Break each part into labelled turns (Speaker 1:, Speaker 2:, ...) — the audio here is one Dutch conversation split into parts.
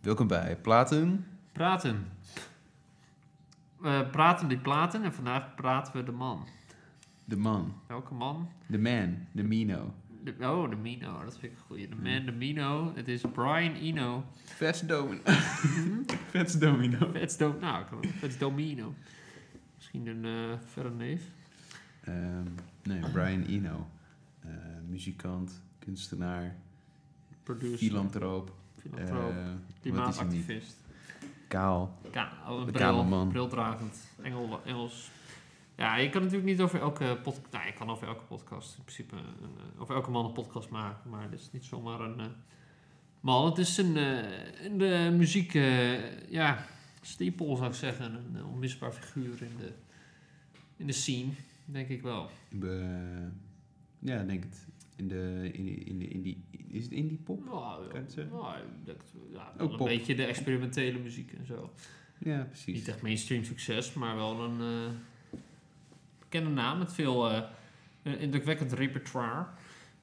Speaker 1: Welkom bij Platen.
Speaker 2: Praten. We praten die platen en vandaag praten we de man.
Speaker 1: De man.
Speaker 2: Welke man?
Speaker 1: De man. De Mino.
Speaker 2: De, oh, de Mino. Dat vind ik een goeie. De man, de Mino. Het is Brian Eno.
Speaker 1: Vets domino. Vets domino.
Speaker 2: Het is, dom, nou, ik- het is Domino. Misschien een eh verre neef.
Speaker 1: Ehm, nee, Brian Eno. Eh, muzikant, kunstenaar,
Speaker 2: Producer.
Speaker 1: filantroop.
Speaker 2: Filantroop.
Speaker 1: eh, wat is hij niet?
Speaker 2: klimaatactivist.
Speaker 1: Kaal.
Speaker 2: Ka oh,
Speaker 1: De
Speaker 2: een bril,
Speaker 1: kamerman.
Speaker 2: brildragend. Engel, Engels. Ja, je kan natuurlijk niet over elke podcast... Nou, je kan over elke podcast in principe... Een, eh, over elke man een podcast maken. Maar dit is niet zomaar een eh, man. Het is een, eh, een eh, muziek... eh, ja, steepol zou ik zeggen. Een eh, onmisbaar figuur in de, in de scene. Denk ik wel.
Speaker 1: Be- ja, ik denk het. In de, in, in de, in die, is het indie pop?
Speaker 2: Nou,
Speaker 1: kan je het zeggen?
Speaker 2: nou, ik denk, ja,
Speaker 1: Ook
Speaker 2: wel een
Speaker 1: pop.
Speaker 2: beetje de experimentele muziek en zo.
Speaker 1: Ja, precies.
Speaker 2: Niet echt mainstream succes, maar wel een eh, bekende naam met veel eh, een indrukwekkend repertoire.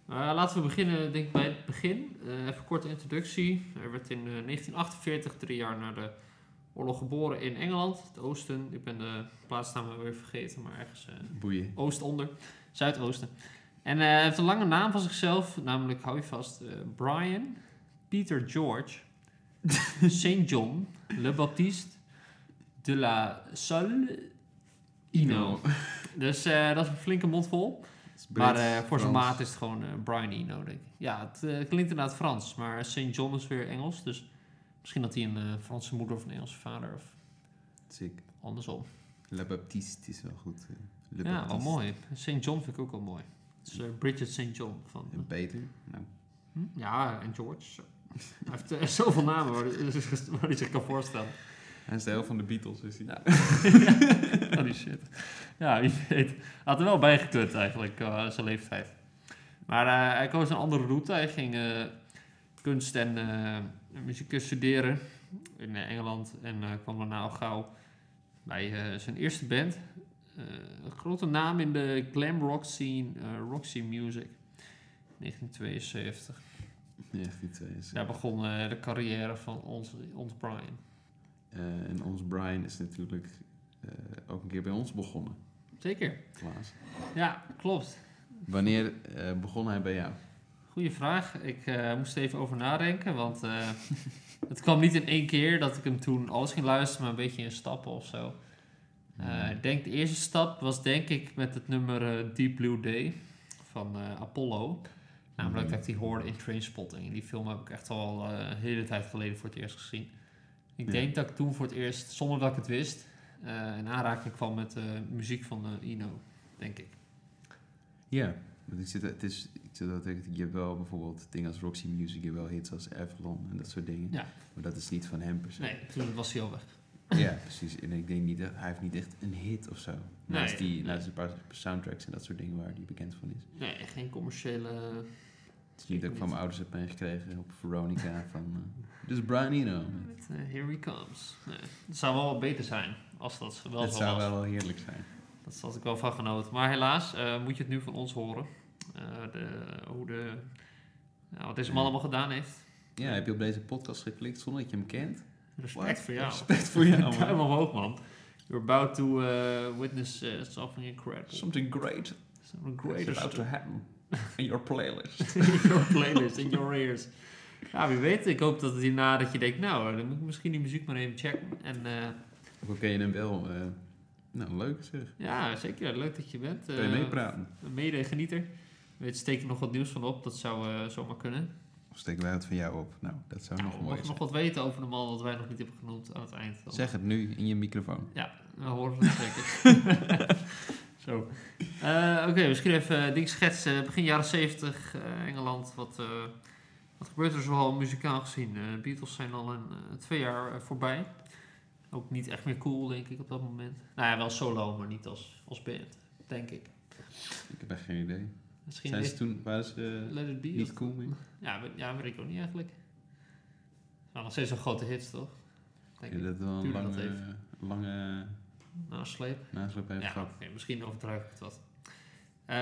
Speaker 2: Eh, laten we beginnen, denk ik, bij het begin. Eh, even korte introductie. Hij werd in eh, 1948, drie jaar na de oorlog, geboren in Engeland, het oosten. Ik ben de plaatsnaam weer vergeten, maar ergens eh,
Speaker 1: Boeien.
Speaker 2: Oostonder, Zuidoosten. En eh, hij heeft een lange naam van zichzelf, namelijk, hou je vast, eh, Brian, Peter George, St. John, Le Baptiste, de la Salle, Ino. Dus eh, dat is een flinke mond vol.
Speaker 1: Het is
Speaker 2: maar
Speaker 1: Brits,
Speaker 2: eh, voor zijn
Speaker 1: Frans.
Speaker 2: maat is het gewoon eh, Brian Ino, denk ik. Ja, het eh, klinkt inderdaad Frans, maar St. John is weer Engels. Dus misschien dat hij een eh, Franse moeder of een Engelse vader of
Speaker 1: Sick.
Speaker 2: andersom.
Speaker 1: Le Baptiste is wel goed. eh. Le
Speaker 2: ja, wel
Speaker 1: Baptiste.
Speaker 2: mooi. St. John vind ik ook wel mooi. Dus eh, Bridget St. John van...
Speaker 1: En Peter. Nou,
Speaker 2: Hm? Ja, en George. Hij heeft eh, zoveel namen waar hij, waar hij zich kan voorstellen.
Speaker 1: hij is de helft van de Beatles, is hij.
Speaker 2: Ja. Holy shit. Ja, wie weet. Had er wel bij gekund eigenlijk, eh, zijn leeftijd. Maar eh, hij koos een andere route. Hij ging eh, kunst en eh, muziek studeren in eh, Engeland. En eh, kwam daarna al gauw bij eh, zijn eerste band. Eh, een grote naam in de glam rock scene, eh, Roxy Music. 1972.
Speaker 1: Ja, echt die twee. is-
Speaker 2: Daar begon eh, de carrière van ons, ons Brian.
Speaker 1: Eh, en ons Brian is natuurlijk eh, ook een keer bij ons begonnen,
Speaker 2: Zeker.
Speaker 1: Klaas.
Speaker 2: Ja, klopt.
Speaker 1: Wanneer eh, begon hij bij jou?
Speaker 2: Goeie vraag. Ik eh, moest er even over nadenken, want eh, het kwam niet in één keer dat ik hem toen alles ging luisteren, maar een beetje in stappen of zo. Eh,
Speaker 1: Hmm.
Speaker 2: Ik denk de eerste stap was denk ik met het nummer eh, Deep Blue Day van eh, Apollo. Namelijk
Speaker 1: Hmm.
Speaker 2: dat ik die hoorde in Trainspotting. En Die film heb ik echt al eh, een hele tijd geleden voor het eerst gezien. Ik
Speaker 1: Ja.
Speaker 2: denk dat ik toen voor het eerst, zonder dat ik het wist, eh in aanraking kwam met eh, muziek van eh, Ino, denk ik.
Speaker 1: Ja, want ik zit, het is, ik zit altijd, te denken, je hebt wel bijvoorbeeld dingen als Roxy Music, je hebt wel hits als Avalon en dat soort dingen.
Speaker 2: Ja.
Speaker 1: Maar dat is niet van hem per se.
Speaker 2: Nee, toen was hij al weg.
Speaker 1: Ja, precies. En ik denk niet, dat- hij heeft niet echt een hit of zo. Naast, die,
Speaker 2: nee.
Speaker 1: naast een paar soundtracks en dat soort dingen waar hij bekend van is.
Speaker 2: Nee, geen commerciële
Speaker 1: Het is niet dat ik van mijn ouders heb meegekregen op Veronica van... eh, Dit is Brian Eno.
Speaker 2: Eh, here he comes. Nee, het zou wel wat beter zijn als dat wel
Speaker 1: Het
Speaker 2: zo
Speaker 1: zou
Speaker 2: was.
Speaker 1: wel heerlijk zijn.
Speaker 2: Dat had ik wel van genoten. Maar helaas eh, moet je het nu van ons horen. Eh, de, hoe de, nou, wat deze man allemaal gedaan heeft.
Speaker 1: Ja, heb je op deze podcast geklikt zonder dat je hem kent?
Speaker 2: Respect
Speaker 1: What?
Speaker 2: voor jou.
Speaker 1: Respect voor jou, man.
Speaker 2: Duim omhoog, man. You're about to eh, witness eh, something incredible.
Speaker 1: Something great
Speaker 2: Something
Speaker 1: great
Speaker 2: greater
Speaker 1: is about to happen in your playlist.
Speaker 2: in your playlist, in your ears. Ja, wie weet. Ik hoop dat het hierna dat je denkt, nou, dan moet ik misschien die muziek maar even checken. En eh,
Speaker 1: Hoe ken je hem wel? eh, nou, leuk zeg.
Speaker 2: ja, zeker. Leuk dat je bent.
Speaker 1: Kan je
Speaker 2: Eh,
Speaker 1: meepraten?
Speaker 2: Een medegenieter. Weet, steek er nog wat nieuws van op. Dat zou eh, zomaar kunnen.
Speaker 1: Of steken wij het van jou op? Nou, dat zou nog
Speaker 2: Nou,
Speaker 1: mooi
Speaker 2: mocht je
Speaker 1: zijn.
Speaker 2: nog wat weten over de man dat wij nog niet hebben genoemd aan het eind. dan-
Speaker 1: Zeg het nu in je microfoon.
Speaker 2: Ja, we horen het zeker. Zo. Eh, Oké, misschien even eh, ding schetsen. Begin jaren 70, eh, Engeland. Wat, eh, wat gebeurt er zoal muzikaal gezien? Eh, De Beatles zijn al een, eh, twee jaar eh, voorbij. Ook niet echt meer cool, denk ik, op dat moment. Nou ja, wel solo, maar niet als, als band, denk ik.
Speaker 1: Ik heb echt geen idee.
Speaker 2: Misschien
Speaker 1: Zijn ze
Speaker 2: is
Speaker 1: toen, waren ze eh,
Speaker 2: Let It Be of
Speaker 1: niet cool mee?
Speaker 2: Ja, we- ja, weet ik ook niet eigenlijk. Nou, nog steeds een grote hits, toch? Denk
Speaker 1: Ja,
Speaker 2: ik.
Speaker 1: dat wel een
Speaker 2: Duurde dat
Speaker 1: lange, lange
Speaker 2: Nou, sleep.
Speaker 1: nasleep heeft
Speaker 2: Ja,
Speaker 1: gehad.
Speaker 2: oké, misschien overdrijf ik het wat. Eh,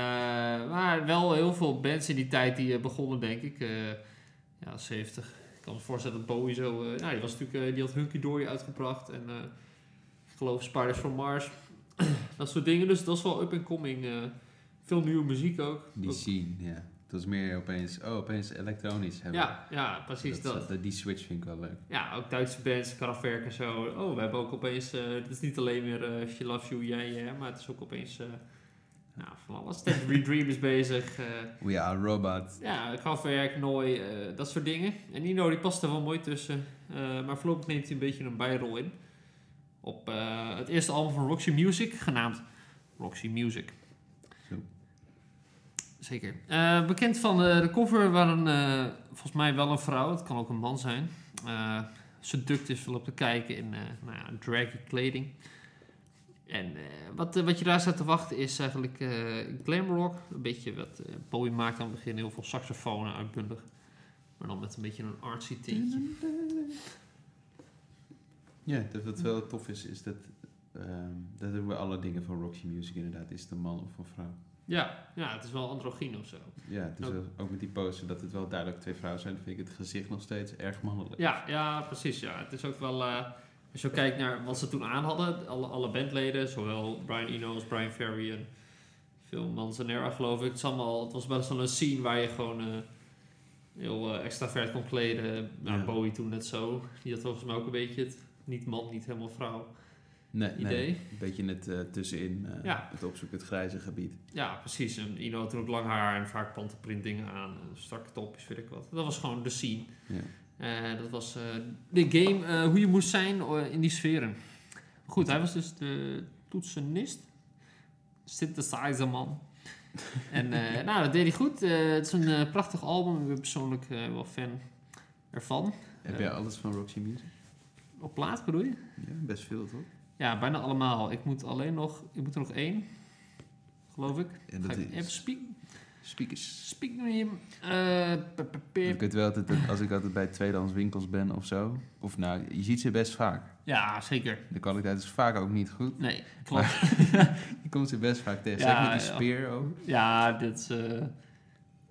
Speaker 2: maar wel heel veel bands in die tijd die eh, begonnen, denk ik. eh ja, 70. kan me voorstellen dat Bowie zo... eh, nou, die, was natuurlijk, eh, die had Hunky Dory uitgebracht. En eh, ik geloof Spiders from Mars. dat soort dingen. Dus dat is wel up-and-coming. eh, veel nieuwe muziek ook.
Speaker 1: Die
Speaker 2: Ook-
Speaker 1: scene, ja. Dat is meer opeens, oh, opeens elektronisch hebben.
Speaker 2: ja, ja, precies dat.
Speaker 1: dat- Die switch vind ik wel leuk.
Speaker 2: Ja, ook Duitse bands, Kraftwerk en zo. Oh, we hebben ook opeens... eh, het is niet alleen meer eh She Loves You, jij, yeah, Maar het is ook opeens... eh, nou, van alles. Ted Dream is bezig. eh,
Speaker 1: We are robot.
Speaker 2: Ja, grafwerk, nooi, eh, dat soort dingen. En Nino die past er wel mooi tussen. Eh, maar voorlopig neemt hij een beetje een bijrol in. Op eh, het eerste album van Roxy Music, genaamd Roxy Music.
Speaker 1: Zo.
Speaker 2: Zeker. Eh, bekend van eh, de cover waren eh, volgens mij wel een vrouw, het kan ook een man zijn. Eh seduct is wel op te kijken in eh nou ja, draggy kleding. En eh, wat, eh, wat je daar staat te wachten is eigenlijk eh glamrock. Een beetje wat eh, Bowie maakt aan het begin. Heel veel saxofonen uitbundig. Maar dan met een beetje een artsy tintje.
Speaker 1: Ja, dat wat
Speaker 2: Mm.
Speaker 1: wel tof is, is dat... ehm, dat doen we alle dingen van Roxy Music inderdaad. Is het een man of een vrouw?
Speaker 2: Ja, ja, het is wel androgyn of zo.
Speaker 1: Ja, het is
Speaker 2: Ook-
Speaker 1: wel- ook met die pose dat het wel duidelijk twee vrouwen zijn. vind ik het gezicht nog steeds erg mannelijk.
Speaker 2: Ja, ja precies. Ja. Het is ook wel... eh, als je ook kijkt naar wat ze toen aan hadden. Alle, alle bandleden. Zowel Brian Eno als Brian Ferry. En Phil Manzanera geloof ik. Het, is allemaal, het was wel zo'n scene waar je gewoon... eh, heel eh, extravert kon kleden. Nou,
Speaker 1: Ja.
Speaker 2: Bowie toen net zo. Die had volgens mij ook een beetje het... Niet man, niet helemaal vrouw.
Speaker 1: Nee, nee.
Speaker 2: idee.
Speaker 1: Een beetje net eh, tussenin eh,
Speaker 2: Ja.
Speaker 1: het opzoeken, het grijze gebied.
Speaker 2: Ja, precies. En Ino had toen ook lang haar en vaak pantenprint dingen aan. en Strakke topjes, weet ik wat. Dat was gewoon de scene.
Speaker 1: Ja.
Speaker 2: Eh, dat was eh, de game, eh, hoe je moest zijn eh, in die sferen. Goed, hij was dus de toetsenist. Synthesizerman. en eh, nou, dat deed hij goed. Eh, het is een eh, prachtig album. Ik ben persoonlijk eh, wel fan ervan.
Speaker 1: Heb
Speaker 2: Ja.
Speaker 1: jij alles van Roxy Music?
Speaker 2: Op plaat bedoel je?
Speaker 1: Ja, best veel toch?
Speaker 2: Ja, bijna allemaal. Ik moet alleen nog... Ik moet er nog één, geloof ik.
Speaker 1: En
Speaker 2: Ga
Speaker 1: dat
Speaker 2: ik
Speaker 1: is-
Speaker 2: even spieken?
Speaker 1: Speakers.
Speaker 2: Speak naar hem. Eh, p- p- p-
Speaker 1: Ik weet wel altijd dat als ik altijd bij tweedehands winkels ben of zo. Of nou, je ziet ze best vaak.
Speaker 2: Ja, zeker.
Speaker 1: De kwaliteit is dus vaak ook niet goed.
Speaker 2: Nee, klopt.
Speaker 1: Je komt ze best vaak tegen.
Speaker 2: Ja,
Speaker 1: Zeker met die
Speaker 2: ja.
Speaker 1: speer ook.
Speaker 2: Ja, dit is eh,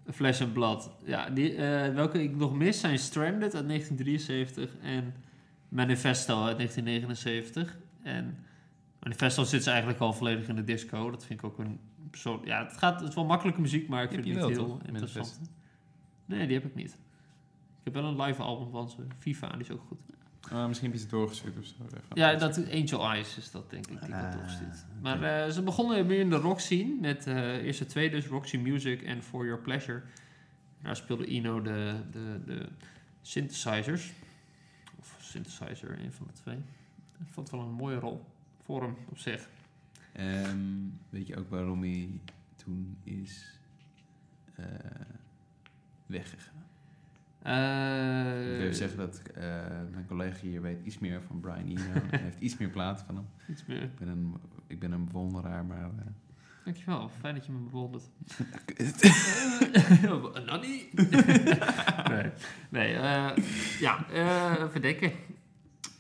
Speaker 2: een fles en blad. Ja, die, eh, welke ik nog mis zijn Stranded uit 1973 en Manifesto uit 1979. En Manifesto zit ze eigenlijk al volledig in de disco. Dat vind ik ook een persoon... Ja, het, gaat, het is wel makkelijke muziek, maar ik
Speaker 1: Heb
Speaker 2: vind
Speaker 1: je
Speaker 2: het niet
Speaker 1: wel,
Speaker 2: heel
Speaker 1: toch?
Speaker 2: interessant. Nee, die heb ik niet. Ik heb wel een live album van ze, FIFA, die is ook
Speaker 1: Oh,
Speaker 2: goed.
Speaker 1: Eh,
Speaker 3: Ah, misschien heb je het doorgestuurd of zo. Daarvan.
Speaker 2: Ja, dat Angel Eyes is dat denk ik die ik had
Speaker 1: Ah,
Speaker 2: opgestuurd.
Speaker 1: oké.
Speaker 2: Maar eh, ze begonnen meer in de rock scene met eh eerst de twee dus Roxy Music en For Your Pleasure. Daar speelde Ino de, de, de synthesizers. Of synthesizer, een van de twee. Ik vond het wel een mooie rol voor hem op zich.
Speaker 1: Ehm, weet je ook waarom hij toen is eh, weggegaan?
Speaker 2: Eh,
Speaker 1: ik wil even zeggen dat eh, mijn collega hier weet iets meer van Brian Eno. en heeft iets meer platen van hem.
Speaker 2: iets meer.
Speaker 1: Ik ben een, ik ben een bewonderaar, maar... eh,
Speaker 2: Dankjewel, fijn dat je me bewondert. Een nanny? nee, nee eh, ja, eh even denken.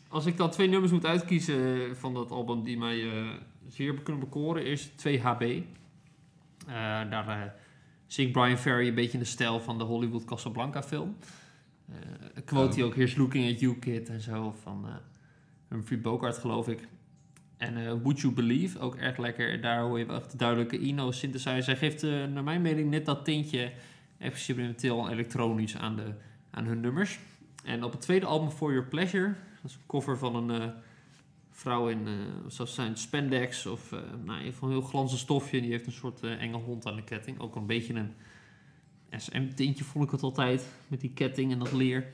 Speaker 2: Als ik dan twee nummers moet uitkiezen van dat album die mij eh, zeer kunnen bekoren, is 2HB. Eh, daar eh, zingt Brian Ferry een beetje in de stijl van de Hollywood Casablanca film. Eh, Een quote
Speaker 1: Oh.
Speaker 2: hij ook, here's looking at you kid en zo, van eh Humphrey Bogart geloof ik. En eh, Would You Believe, ook erg lekker. Daar hoor je wel echt de duidelijke Ino synthesizer. Hij geeft eh, naar mijn mening net dat tintje experimenteel en elektronisch aan, de, aan hun nummers. En op het tweede album For Your Pleasure, dat is een cover van een eh, vrouw in, eh wat zou het zijn, spandex of eh nou, een van een heel glanzend stofje. Die heeft een soort eh, enge hond aan de ketting. Ook een beetje een SM-tintje vond ik het altijd, met die ketting en dat leer.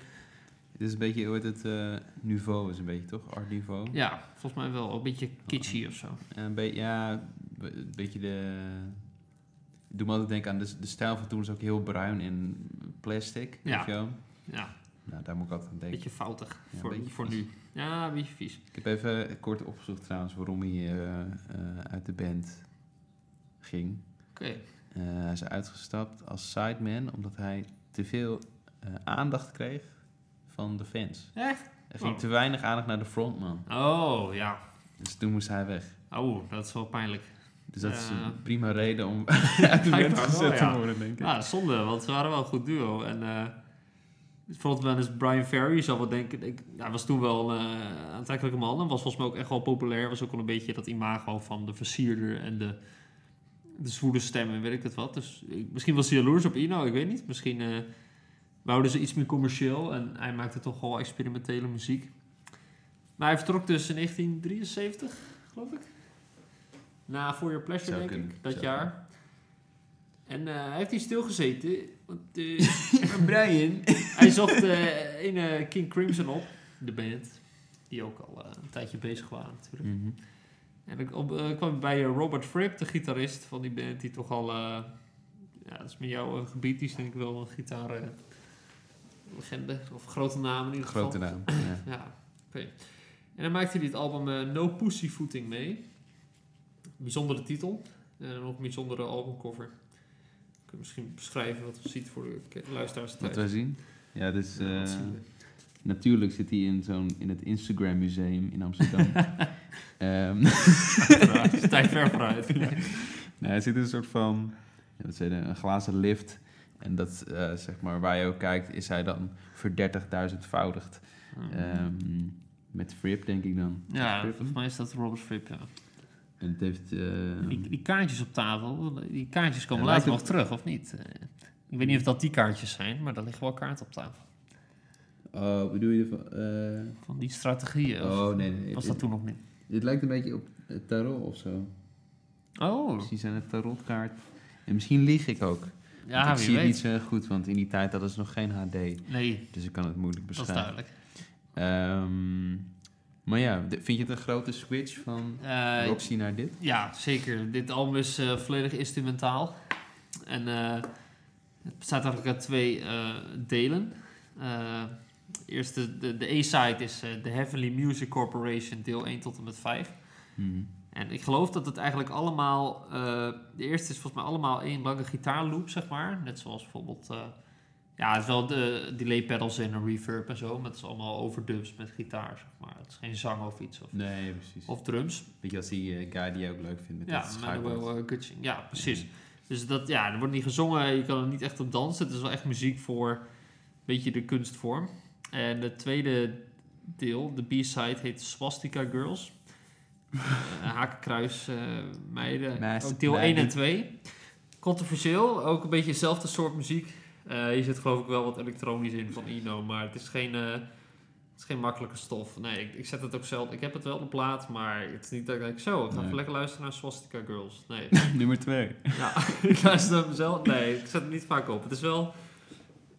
Speaker 1: Het is een beetje, hoe heet het, eh, niveau is een beetje toch? Art niveau? Eh,
Speaker 2: Ja, volgens mij wel een beetje kitschy of zo.
Speaker 1: Een be- ja, be- een beetje de... Ik doe me altijd denken aan de, de stijl van toen was ook heel bruin en plastic.
Speaker 2: Ja.
Speaker 1: Weet je wel?
Speaker 2: Ja.
Speaker 1: Nou, daar moet ik altijd aan denken.
Speaker 2: Beetje foutig
Speaker 1: Ja,
Speaker 2: voor,
Speaker 1: beetje
Speaker 2: voor
Speaker 1: vies.
Speaker 2: nu. Ja, een beetje vies.
Speaker 1: Ik heb even kort opgezocht trouwens waarom hij eh, eh, uit de band ging.
Speaker 2: Oké.
Speaker 1: Eh, hij is uitgestapt als sideman omdat hij te veel eh, aandacht kreeg van de fans.
Speaker 2: Echt?
Speaker 1: Er ging
Speaker 2: Oh.
Speaker 1: te weinig aandacht naar de frontman.
Speaker 2: Oh, ja.
Speaker 1: Dus toen moest hij weg.
Speaker 2: Oh, dat is wel pijnlijk.
Speaker 1: Dus dat is
Speaker 2: Ja.
Speaker 1: een prima reden om uit de
Speaker 2: Hij
Speaker 1: band
Speaker 2: kan wel,
Speaker 1: gezet te
Speaker 2: ja. Ah.
Speaker 1: worden, denk ik.
Speaker 2: Ja, zonde, want ze waren wel een goed duo. En eh, Bijvoorbeeld wel eens Brian Ferry, je zou wel denken, ik, hij was toen wel een eh, aantrekkelijke man en was volgens mij ook echt wel populair. Was ook wel een beetje dat imago van de versierder en de, de zwoele stem en weet ik het wat. Dus ik- misschien was hij jaloers op Ino, ik weet niet. Misschien eh wouden ze iets meer commercieel en hij maakte toch wel experimentele muziek. Maar hij vertrok dus in 1973, geloof ik. Na For Your Pleasure,
Speaker 1: Zou
Speaker 2: denk
Speaker 1: kunnen,
Speaker 2: ik, dat
Speaker 1: zou
Speaker 2: jaar. En eh, hij heeft hier stilgezeten, want eh, Brian, hij zocht eh, een eh, King Crimson op, de band, die ook al eh, een tijdje bezig waren natuurlijk.
Speaker 1: Mhm.
Speaker 2: En ik op, eh, kwam bij eh, Robert Fripp, de gitarist van die band, die toch al, eh, ja, dat is met jouw eh, gebied, die is denk ik wel een gitaar eh, legende, of grote naam in ieder geval.
Speaker 1: Grote naam. Ja.
Speaker 2: Ja, oké. En dan maakte hij het album eh, No Pussyfooting mee. Bijzondere titel. En dan nog een bijzondere albumcover. Kun je misschien beschrijven wat we ziet voor de ke- luisteraars
Speaker 1: Wat
Speaker 2: thuis.
Speaker 1: wij zien? Ja, dit is...
Speaker 2: Ja,
Speaker 1: eh,
Speaker 2: wat zien we?
Speaker 1: natuurlijk zit hij in, zo'n, in het Instagram Museum in Amsterdam. Ehm
Speaker 2: Uiteraard, is tijd ver vooruit.
Speaker 1: Nou, er zit een soort van, ja, wat zei je, een glazen lift. En dat, eh, zeg maar, waar je ook kijkt, is hij dan verdertigduizendvoudigd.
Speaker 2: Hmm.
Speaker 1: Ehm met Fripp, denk ik dan.
Speaker 2: ja,
Speaker 1: Fripp.
Speaker 2: volgens mij is dat Robert Fripp, ja.
Speaker 1: En het heeft... eh,
Speaker 2: Die, die kaartjes op tafel, die kaartjes komen
Speaker 1: Ja,
Speaker 2: later nog
Speaker 1: lijkt
Speaker 2: terug, of niet? Eh, Ik weet niet of dat die kaartjes zijn, maar daar liggen wel kaarten op tafel.
Speaker 1: oh, bedoel je van... eh,
Speaker 2: Van die strategieën. of-
Speaker 1: oh, nee, nee. nee.
Speaker 2: Was
Speaker 1: Het-
Speaker 2: dat toen nog niet?
Speaker 1: Het lijkt een beetje op eh, tarot of zo.
Speaker 2: Oh,
Speaker 1: Misschien zijn het tarotkaart. En misschien lieg ik ook.
Speaker 2: ja,
Speaker 1: want ik
Speaker 2: wie
Speaker 1: zie
Speaker 2: weet.
Speaker 1: het niet zo heel goed, want in die tijd hadden ze nog geen HD.
Speaker 2: Nee,
Speaker 1: Dus ik kan het moeilijk
Speaker 2: dat is
Speaker 1: beschrijven.
Speaker 2: duidelijk.
Speaker 1: Ehm, maar ja, de- vind je het een grote switch van
Speaker 2: Eh,
Speaker 1: Roxy naar dit?
Speaker 2: ja, zeker. Dit album is eh, volledig instrumentaal. En eh, het bestaat eigenlijk uit twee eh, delen. Eh, eerst de, de, de A-side is eh, de Heavenly Music Corporation, deel 1 tot en met 5.
Speaker 1: Mhm.
Speaker 2: En ik geloof dat het eigenlijk allemaal... eh, de eerste is volgens mij allemaal één lange gitaarloop, zeg maar. Net zoals bijvoorbeeld... eh, ja, het is wel de delay pedals en een reverb en zo. Maar het is allemaal overdubs met gitaar, zeg maar. Het is geen zang of iets. Of,
Speaker 1: Nee, precies.
Speaker 2: of drums.
Speaker 1: Weet je, als die eh, guy die je ook leuk vindt met
Speaker 2: Ja,
Speaker 1: dat schaakbord.
Speaker 2: Manuel eh, Gutsching. Ja, precies. Dus dat, ja, er wordt niet gezongen, je kan er niet echt op dansen. Het is wel echt muziek voor een beetje de kunstvorm. En het tweede deel, de B-side, heet Swastika Girls. Eh, Hakenkruis eh, meiden.
Speaker 1: Meis-
Speaker 2: ook deel 1
Speaker 1: meiden.
Speaker 2: en 2. Controversieel, ook een beetje hetzelfde soort muziek. Eh, hier zit geloof ik wel wat elektronisch in van Ino, maar het is geen, eh, het is geen makkelijke stof. Nee, ik, ik zet het ook zelf. Ik heb het wel op plaat, maar het is niet dat ik denk, zo, ik ga
Speaker 1: Nee.
Speaker 2: even lekker luisteren naar Swastika Girls. Nee.
Speaker 1: Nummer twee.
Speaker 2: Ja, ik luister naar mezelf. Nee, ik zet hem niet vaak op. Het is wel...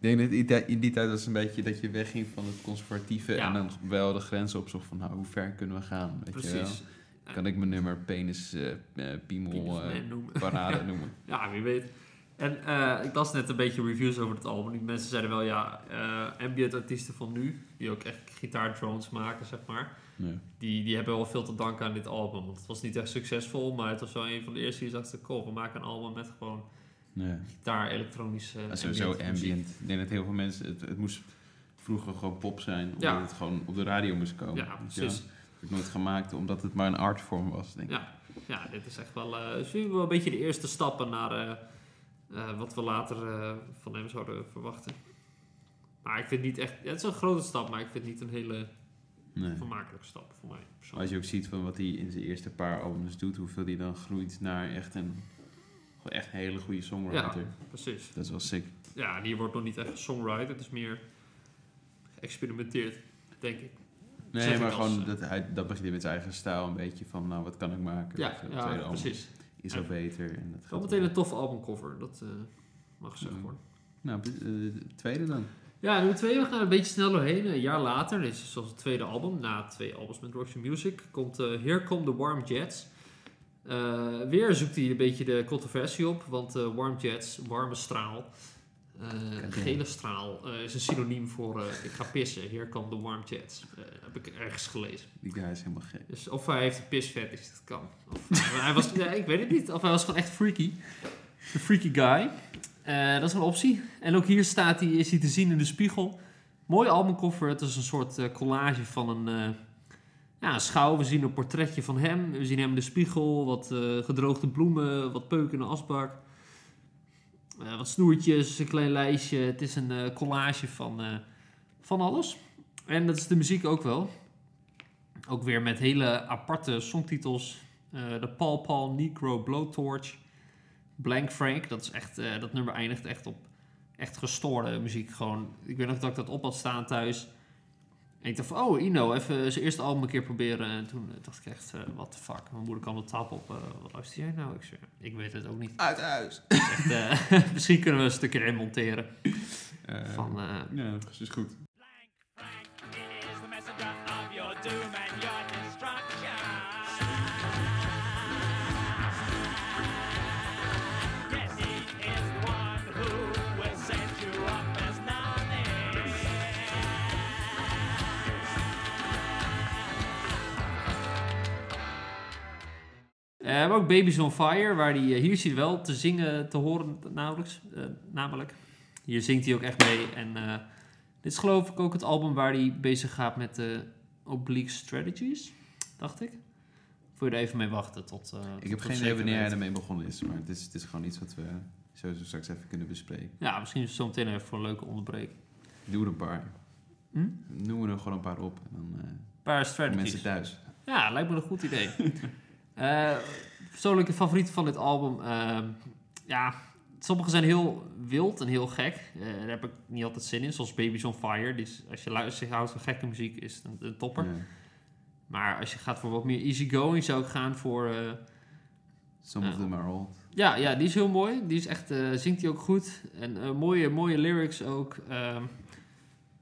Speaker 1: Ik denk dat in die- in die tijd was het een beetje dat je wegging van het conservatieve
Speaker 2: Ja.
Speaker 1: en dan wel de grens opzocht van nou, hoe ver kunnen we gaan? Weet Je wel?
Speaker 2: precies.
Speaker 1: Kan ik mijn nummer penis, eh eh, piemel,
Speaker 2: Penis
Speaker 1: eh,
Speaker 2: Man noemen.
Speaker 1: parade noemen?
Speaker 2: Ja, wie weet. En eh, ik las net een beetje reviews over het album. Die mensen zeiden wel, ja, eh ambient artiesten van nu, die ook echt gitaardrones maken, zeg maar,
Speaker 1: Ja.
Speaker 2: die, die hebben wel veel te danken aan dit album. Want het was niet echt succesvol, maar het was wel een van de eerste die dachten, cool, we maken een album met gewoon
Speaker 1: Ja.
Speaker 2: gitaar, elektronische... Dus-
Speaker 1: Ah, sowieso ambient.
Speaker 2: muziek.
Speaker 1: Ik denk dat heel veel mensen, het, het moest vroeger gewoon pop zijn, omdat
Speaker 2: Ja.
Speaker 1: het gewoon op de radio moest komen.
Speaker 2: Ja,
Speaker 1: Weet je
Speaker 2: precies.
Speaker 1: wel? Het werd nooit gemaakt omdat het maar een artvorm was, denk ik.
Speaker 2: Ja, ja, dit is echt wel, eh, het zijn wel een beetje de eerste stappen naar eh, eh, wat we later eh, van hem zouden verwachten. Maar ik vind niet echt, ja, het is een grote stap, maar ik vind het niet een hele
Speaker 1: Nee.
Speaker 2: vermakelijke stap voor mij.
Speaker 1: Maar als
Speaker 2: persoonlijk.
Speaker 1: je ook ziet van wat hij in zijn eerste paar albums doet, hoeveel hij dan groeit naar echt een, gewoon echt een hele goede songwriter.
Speaker 2: Precies.
Speaker 1: Dat is wel sick.
Speaker 2: Ja, en hier wordt nog niet echt songwriter, het is meer geëxperimenteerd, denk ik. Zeg
Speaker 1: Nee,
Speaker 2: ik
Speaker 1: maar
Speaker 2: als,
Speaker 1: gewoon
Speaker 2: eh,
Speaker 1: dat, hij, dat begint hij met zijn eigen stijl een beetje van, nou wat kan ik maken?
Speaker 2: Ja,
Speaker 1: Of zo, het tweede
Speaker 2: ja
Speaker 1: album
Speaker 2: precies.
Speaker 1: Is al beter. En dat gaat
Speaker 2: Wel meteen
Speaker 1: wel.
Speaker 2: een tof albumcover, dat eh, mag gezegd
Speaker 1: Ja.
Speaker 2: worden.
Speaker 1: Nou, eh, het tweede dan.
Speaker 2: Ja, nummer twee, we gaan een beetje sneller heen. Een jaar later, dit is zoals het tweede album, na twee albums met Roxy Music, komt eh Here Come the Warm Jets. Eh, weer zoekt hij een beetje de controversie op, want eh, Warm Jets, warme straal, eh,
Speaker 1: Kijk, ja.
Speaker 2: gele straal, eh, is een synoniem voor eh, ik ga pissen. Here Come the Warm Jets, Eh, heb ik ergens gelezen.
Speaker 1: Die guy is helemaal gek.
Speaker 2: Dus of hij heeft een pisfetish, dat kan. Of eh, hij was, ja, ik weet het niet. Of hij was gewoon echt freaky. Een freaky guy. Eh, dat is wel een optie. En ook hier staat hij, is hij te zien in de spiegel. Mooi albumkoffer. Het is een soort eh, collage van een, eh, ja, een schouw. We zien een portretje van hem. We zien hem in de spiegel. Wat eh, gedroogde bloemen. Wat peuk in de asbak. Eh, wat snoertjes. Een klein lijstje. Het is een eh, collage van... eh, van alles. En dat is de muziek ook wel. Ook weer met hele aparte songtitels. Eh, de Paul Paul Negro Blowtorch. Blank Frank. Dat, is echt, eh, dat nummer eindigt echt op echt gestoorde muziek. Gewoon, ik weet nog dat ik dat op had staan thuis. En ik dacht van, oh, Ino, even zijn eerste album een keer proberen. En toen eh, dacht ik echt, eh what the fuck. Mijn moeder kwam de tap op. eh, wat luister jij nou? Ik, zei, ik weet het ook niet.
Speaker 1: Uit huis.
Speaker 2: Echt, eh, misschien kunnen we een stukje erin monteren.
Speaker 3: Eh,
Speaker 2: Van, eh,
Speaker 3: Ja, dat is goed.
Speaker 4: Frank is the messenger of your doom and your destruction. Yes, he is the one who will set you up as nothing.
Speaker 2: Eh, maar ook Babies on Fire, waar die, eh, hier is hij wel te zingen, te horen nauwelijks, eh, namelijk. Hier zingt hij ook echt mee. En eh, dit is geloof ik ook het album waar hij bezig gaat met de Oblique Strategies, dacht ik. Voor je er even mee wachten tot... eh,
Speaker 1: Ik
Speaker 2: tot
Speaker 1: heb
Speaker 2: het
Speaker 1: geen idee
Speaker 2: zeker
Speaker 1: wanneer hij
Speaker 2: weet.
Speaker 1: ermee begonnen is, maar het is, het is gewoon iets wat we sowieso straks even kunnen bespreken.
Speaker 2: Ja, misschien zo meteen even voor een leuke onderbreking.
Speaker 1: Doe er een paar.
Speaker 2: Hm?
Speaker 1: Noem er gewoon een paar op en dan eh,
Speaker 2: Een paar
Speaker 1: voor
Speaker 2: strategies.
Speaker 1: mensen thuis.
Speaker 2: Ja, lijkt me een goed idee. Eh, persoonlijke favoriet van dit album. ehm, ja, sommige zijn heel wild en heel gek. Eh, daar heb ik niet altijd zin in. Zoals Babies on Fire. Die is, als je luistert, houdt van gekke muziek, is het een, een topper.
Speaker 1: Ja.
Speaker 2: Maar als je gaat voor wat meer easygoing, zou ik gaan voor... eh,
Speaker 1: Some of
Speaker 2: Ja.
Speaker 1: them are old.
Speaker 2: ja, ja, die is heel mooi. Die is echt, eh, zingt hij ook goed. En eh, mooie, mooie lyrics ook. ehm,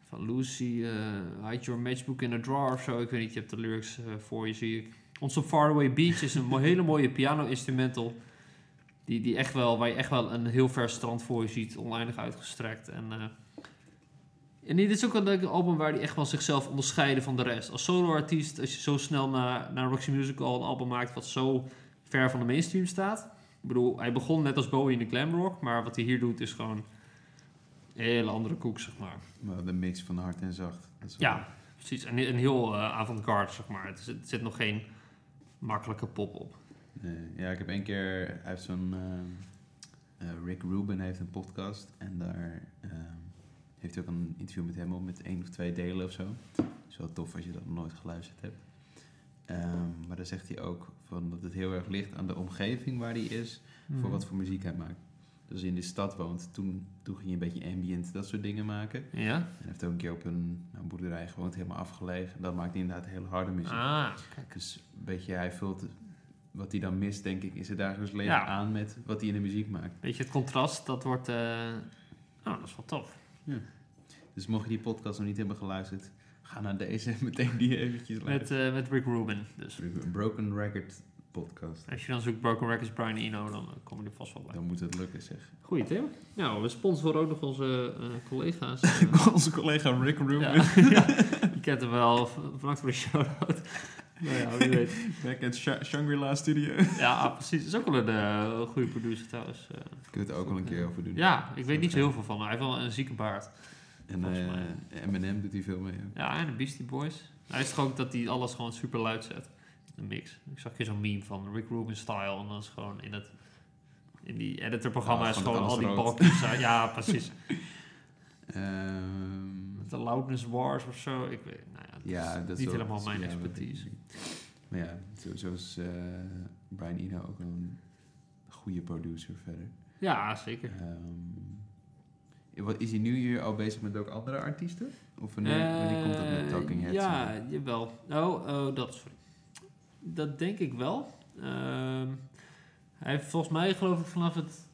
Speaker 2: van Lucy, eh, hide your matchbook in a drawer of zo. Ik weet niet, je hebt de lyrics eh, voor je, zie ik. Onze Faraway Beach is een mo- hele mooie piano-instrumental. Die, die echt wel, waar je echt wel een heel ver strand voor je ziet. Oneindig uitgestrekt. En, eh, en dit is ook een leuk album waar hij echt wel zichzelf onderscheiden van de rest. Als solo-artiest, als je zo snel naar, naar Roxy Music al een album maakt... wat zo ver van de mainstream staat... Ik bedoel, hij begon net als Bowie in de glamrock, maar wat hij hier doet is gewoon een hele andere koek, zeg maar.
Speaker 1: Maar de mix van hard en zacht. Dat is wel-
Speaker 2: Ja, precies. En een heel eh, avant-garde, zeg maar. Het is- er zit nog geen makkelijke pop op.
Speaker 1: Nee, Eh, ja, ik heb één keer, hij heeft zo'n, ehm, eh, Rick Rubin heeft een podcast en daar ehm, heeft hij ook een interview met hem op met één of twee delen of zo. is wel tof als je dat nog nooit geluisterd hebt. Ehm, maar daar zegt hij ook van dat het heel erg ligt aan de omgeving waar hij is,
Speaker 2: Mhm. Hmm.
Speaker 1: voor wat voor muziek hij maakt. Dus als je in de stad woont, toen, toen ging je een beetje ambient, dat soort dingen maken. En
Speaker 2: Ja?
Speaker 1: hij heeft ook een keer op een nou, boerderij gewoond, helemaal afgelegen. En dat maakt hij inderdaad hele harde muziek.
Speaker 2: Ah,
Speaker 1: Dus een beetje, hij vult wat hij dan mist, denk ik, is het dagelijks leven
Speaker 2: Ja.
Speaker 1: aan met wat hij in de muziek maakt.
Speaker 2: weet je, het contrast, dat wordt... eh, Oh, dat is wel tof.
Speaker 1: Dus mocht je die podcast nog niet hebben geluisterd, ga naar deze en meteen die eventjes
Speaker 2: Met,
Speaker 1: luisteren.
Speaker 2: eh, met Rick Rubin, dus.
Speaker 3: eh,
Speaker 1: Een Broken Record podcast.
Speaker 2: Als je dan zoekt Broken Records Brian Eno, dan eh, kom je er vast wel bij.
Speaker 1: Dan moet het lukken, zeg.
Speaker 2: Goeie, Theo. Nou, we sponsoren ook nog onze eh, collega's.
Speaker 3: Onze collega Rick Rubin.
Speaker 2: Ja, ja. je kent hem wel. V- Bedankt voor de shout-out. Nou ja, wie weet.
Speaker 3: Back at Sha- Shangri-La Studio.
Speaker 2: Ja, ah, precies. Is ook wel een eh, goede producer trouwens. Eh,
Speaker 1: Kunnen we het ook al een keer over doen.
Speaker 2: ja, ik weet niet zo heel veel van hem. Hij heeft wel een zieke baard.
Speaker 1: En
Speaker 2: volgens
Speaker 1: eh, Eminem doet hij veel mee. ook.
Speaker 2: Ja, en de Beastie Boys. Hij is toch ook dat hij alles gewoon super luid zet. In de mix. Ik zag hier zo'n meme van Rick Rubin style. En dan is gewoon in het... In die editorprogramma
Speaker 1: Ja,
Speaker 2: is
Speaker 1: gewoon
Speaker 2: gewoon al
Speaker 1: met
Speaker 2: die
Speaker 1: alles rood.
Speaker 2: balkjes. eh, ja, precies.
Speaker 1: Ehm,
Speaker 2: Met de loudness wars of zo. Ik weet, nou ja, dat
Speaker 1: ja,
Speaker 2: is
Speaker 1: dat
Speaker 2: niet
Speaker 1: wel-
Speaker 2: helemaal
Speaker 1: dat is
Speaker 2: mijn
Speaker 1: wel-
Speaker 2: expertise.
Speaker 1: Maar ja, zo, zo is eh, Brian Eno ook een goede producer verder.
Speaker 2: Ja, zeker.
Speaker 1: Ehm, wat, is hij nu hier al bezig met ook andere artiesten? Of wanneer, wanneer komt dat met Talking
Speaker 2: Eh,
Speaker 1: Heads?
Speaker 2: Ja, jawel. Oh, oh, dat is... Dat denk ik wel. Ehm, hij heeft volgens mij, geloof ik, vanaf het...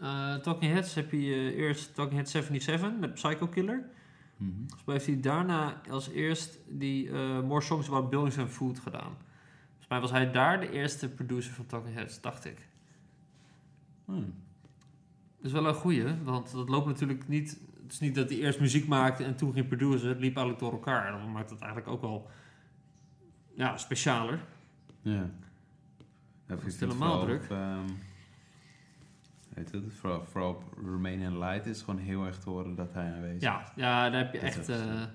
Speaker 2: eh, Talking Heads heb je eh, eerst Talking Heads 77 met Psycho Killer.
Speaker 1: Mhm.
Speaker 2: Volgens mij heeft hij daarna als eerst die eh, More Songs About Buildings and Food gedaan. Volgens mij was hij daar de eerste producer van Talking Heads, dacht ik.
Speaker 1: Hmm.
Speaker 2: Dat is wel een goeie, want dat loopt natuurlijk niet... Het is niet dat hij eerst muziek maakte en toen ging produceren. Het liep eigenlijk door elkaar. En dat maakt het eigenlijk ook wel ja, specialer.
Speaker 1: Ja. Dat
Speaker 2: is helemaal druk.
Speaker 1: Op, ehm, weet je, dat, vooral, vooral op Remain in Light is gewoon heel erg te horen dat hij aanwezig
Speaker 2: Ja, ja daar heb je
Speaker 1: Dat is
Speaker 2: echt...
Speaker 1: wel
Speaker 2: eh,
Speaker 1: zo.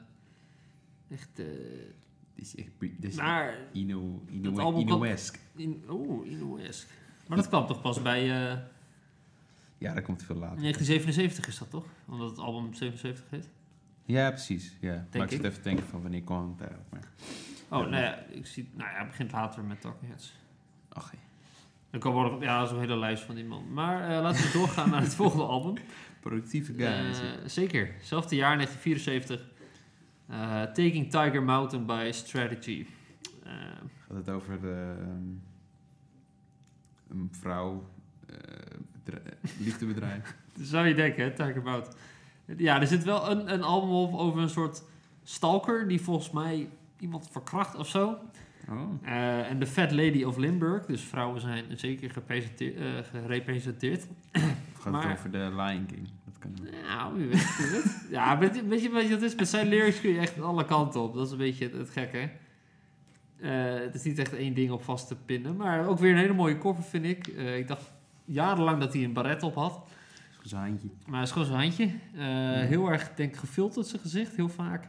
Speaker 2: echt... eh,
Speaker 1: is. Dit is echt dit is
Speaker 2: maar...
Speaker 1: Ino, Ino,
Speaker 2: dat album kwam-
Speaker 1: Ino-esque.
Speaker 2: In, Oeh, Inuesk. Maar dat kwam toch pas bij eh,
Speaker 1: Ja, dat komt veel later.
Speaker 2: 1977 is dat toch? Omdat het album 77 heet.
Speaker 1: Ja, precies. Ja. maar ik
Speaker 2: ik.
Speaker 1: zit even te denken van wanneer kwam het eigenlijk. Maar...
Speaker 2: Oh,
Speaker 1: Ja.
Speaker 2: nou ja, ik zie, nou ja, het begint later met Talking Heads.
Speaker 1: Ach, ja.
Speaker 2: Dan kan worden, ja, zo'n hele lijst van die man. Maar eh, laten we doorgaan naar het volgende album.
Speaker 1: productieve guy. is
Speaker 2: Eh,
Speaker 1: het.
Speaker 2: zeker, zelfde jaar 1974. Eh, Taking Tiger Mountain by Strategy. Eh,
Speaker 1: Gaat het over de, ehm, een vrouw, eh, bedrij- liefdebedrijf.
Speaker 2: zou je denken, hè, Tiger Mountain. Ja, er zit wel een, een album op over een soort stalker die volgens mij iemand verkracht of zo.
Speaker 1: Oh.
Speaker 2: Eh, en de Fat Lady of Limburg. Dus vrouwen zijn zeker gepresenteer- eh, gerepresenteerd.
Speaker 1: Of gaat
Speaker 2: Maar-
Speaker 1: het over de Lion King? Dat kan ook.
Speaker 2: Nou, wie weet, wie weet. Ja, weet je, weet je wat het is? Met zijn lyrics kun je echt alle kanten op. Dat is een beetje het, het gekke. Eh, het is niet echt één ding op vast te pinnen. Maar ook weer een hele mooie cover, vind ik. Eh, ik dacht jarenlang dat hij een baret op had.
Speaker 1: Zijn handje.
Speaker 2: Maar het is gewoon zijn handje. Eh, Heel erg, denk ik, gefilterd zijn gezicht, heel vaak.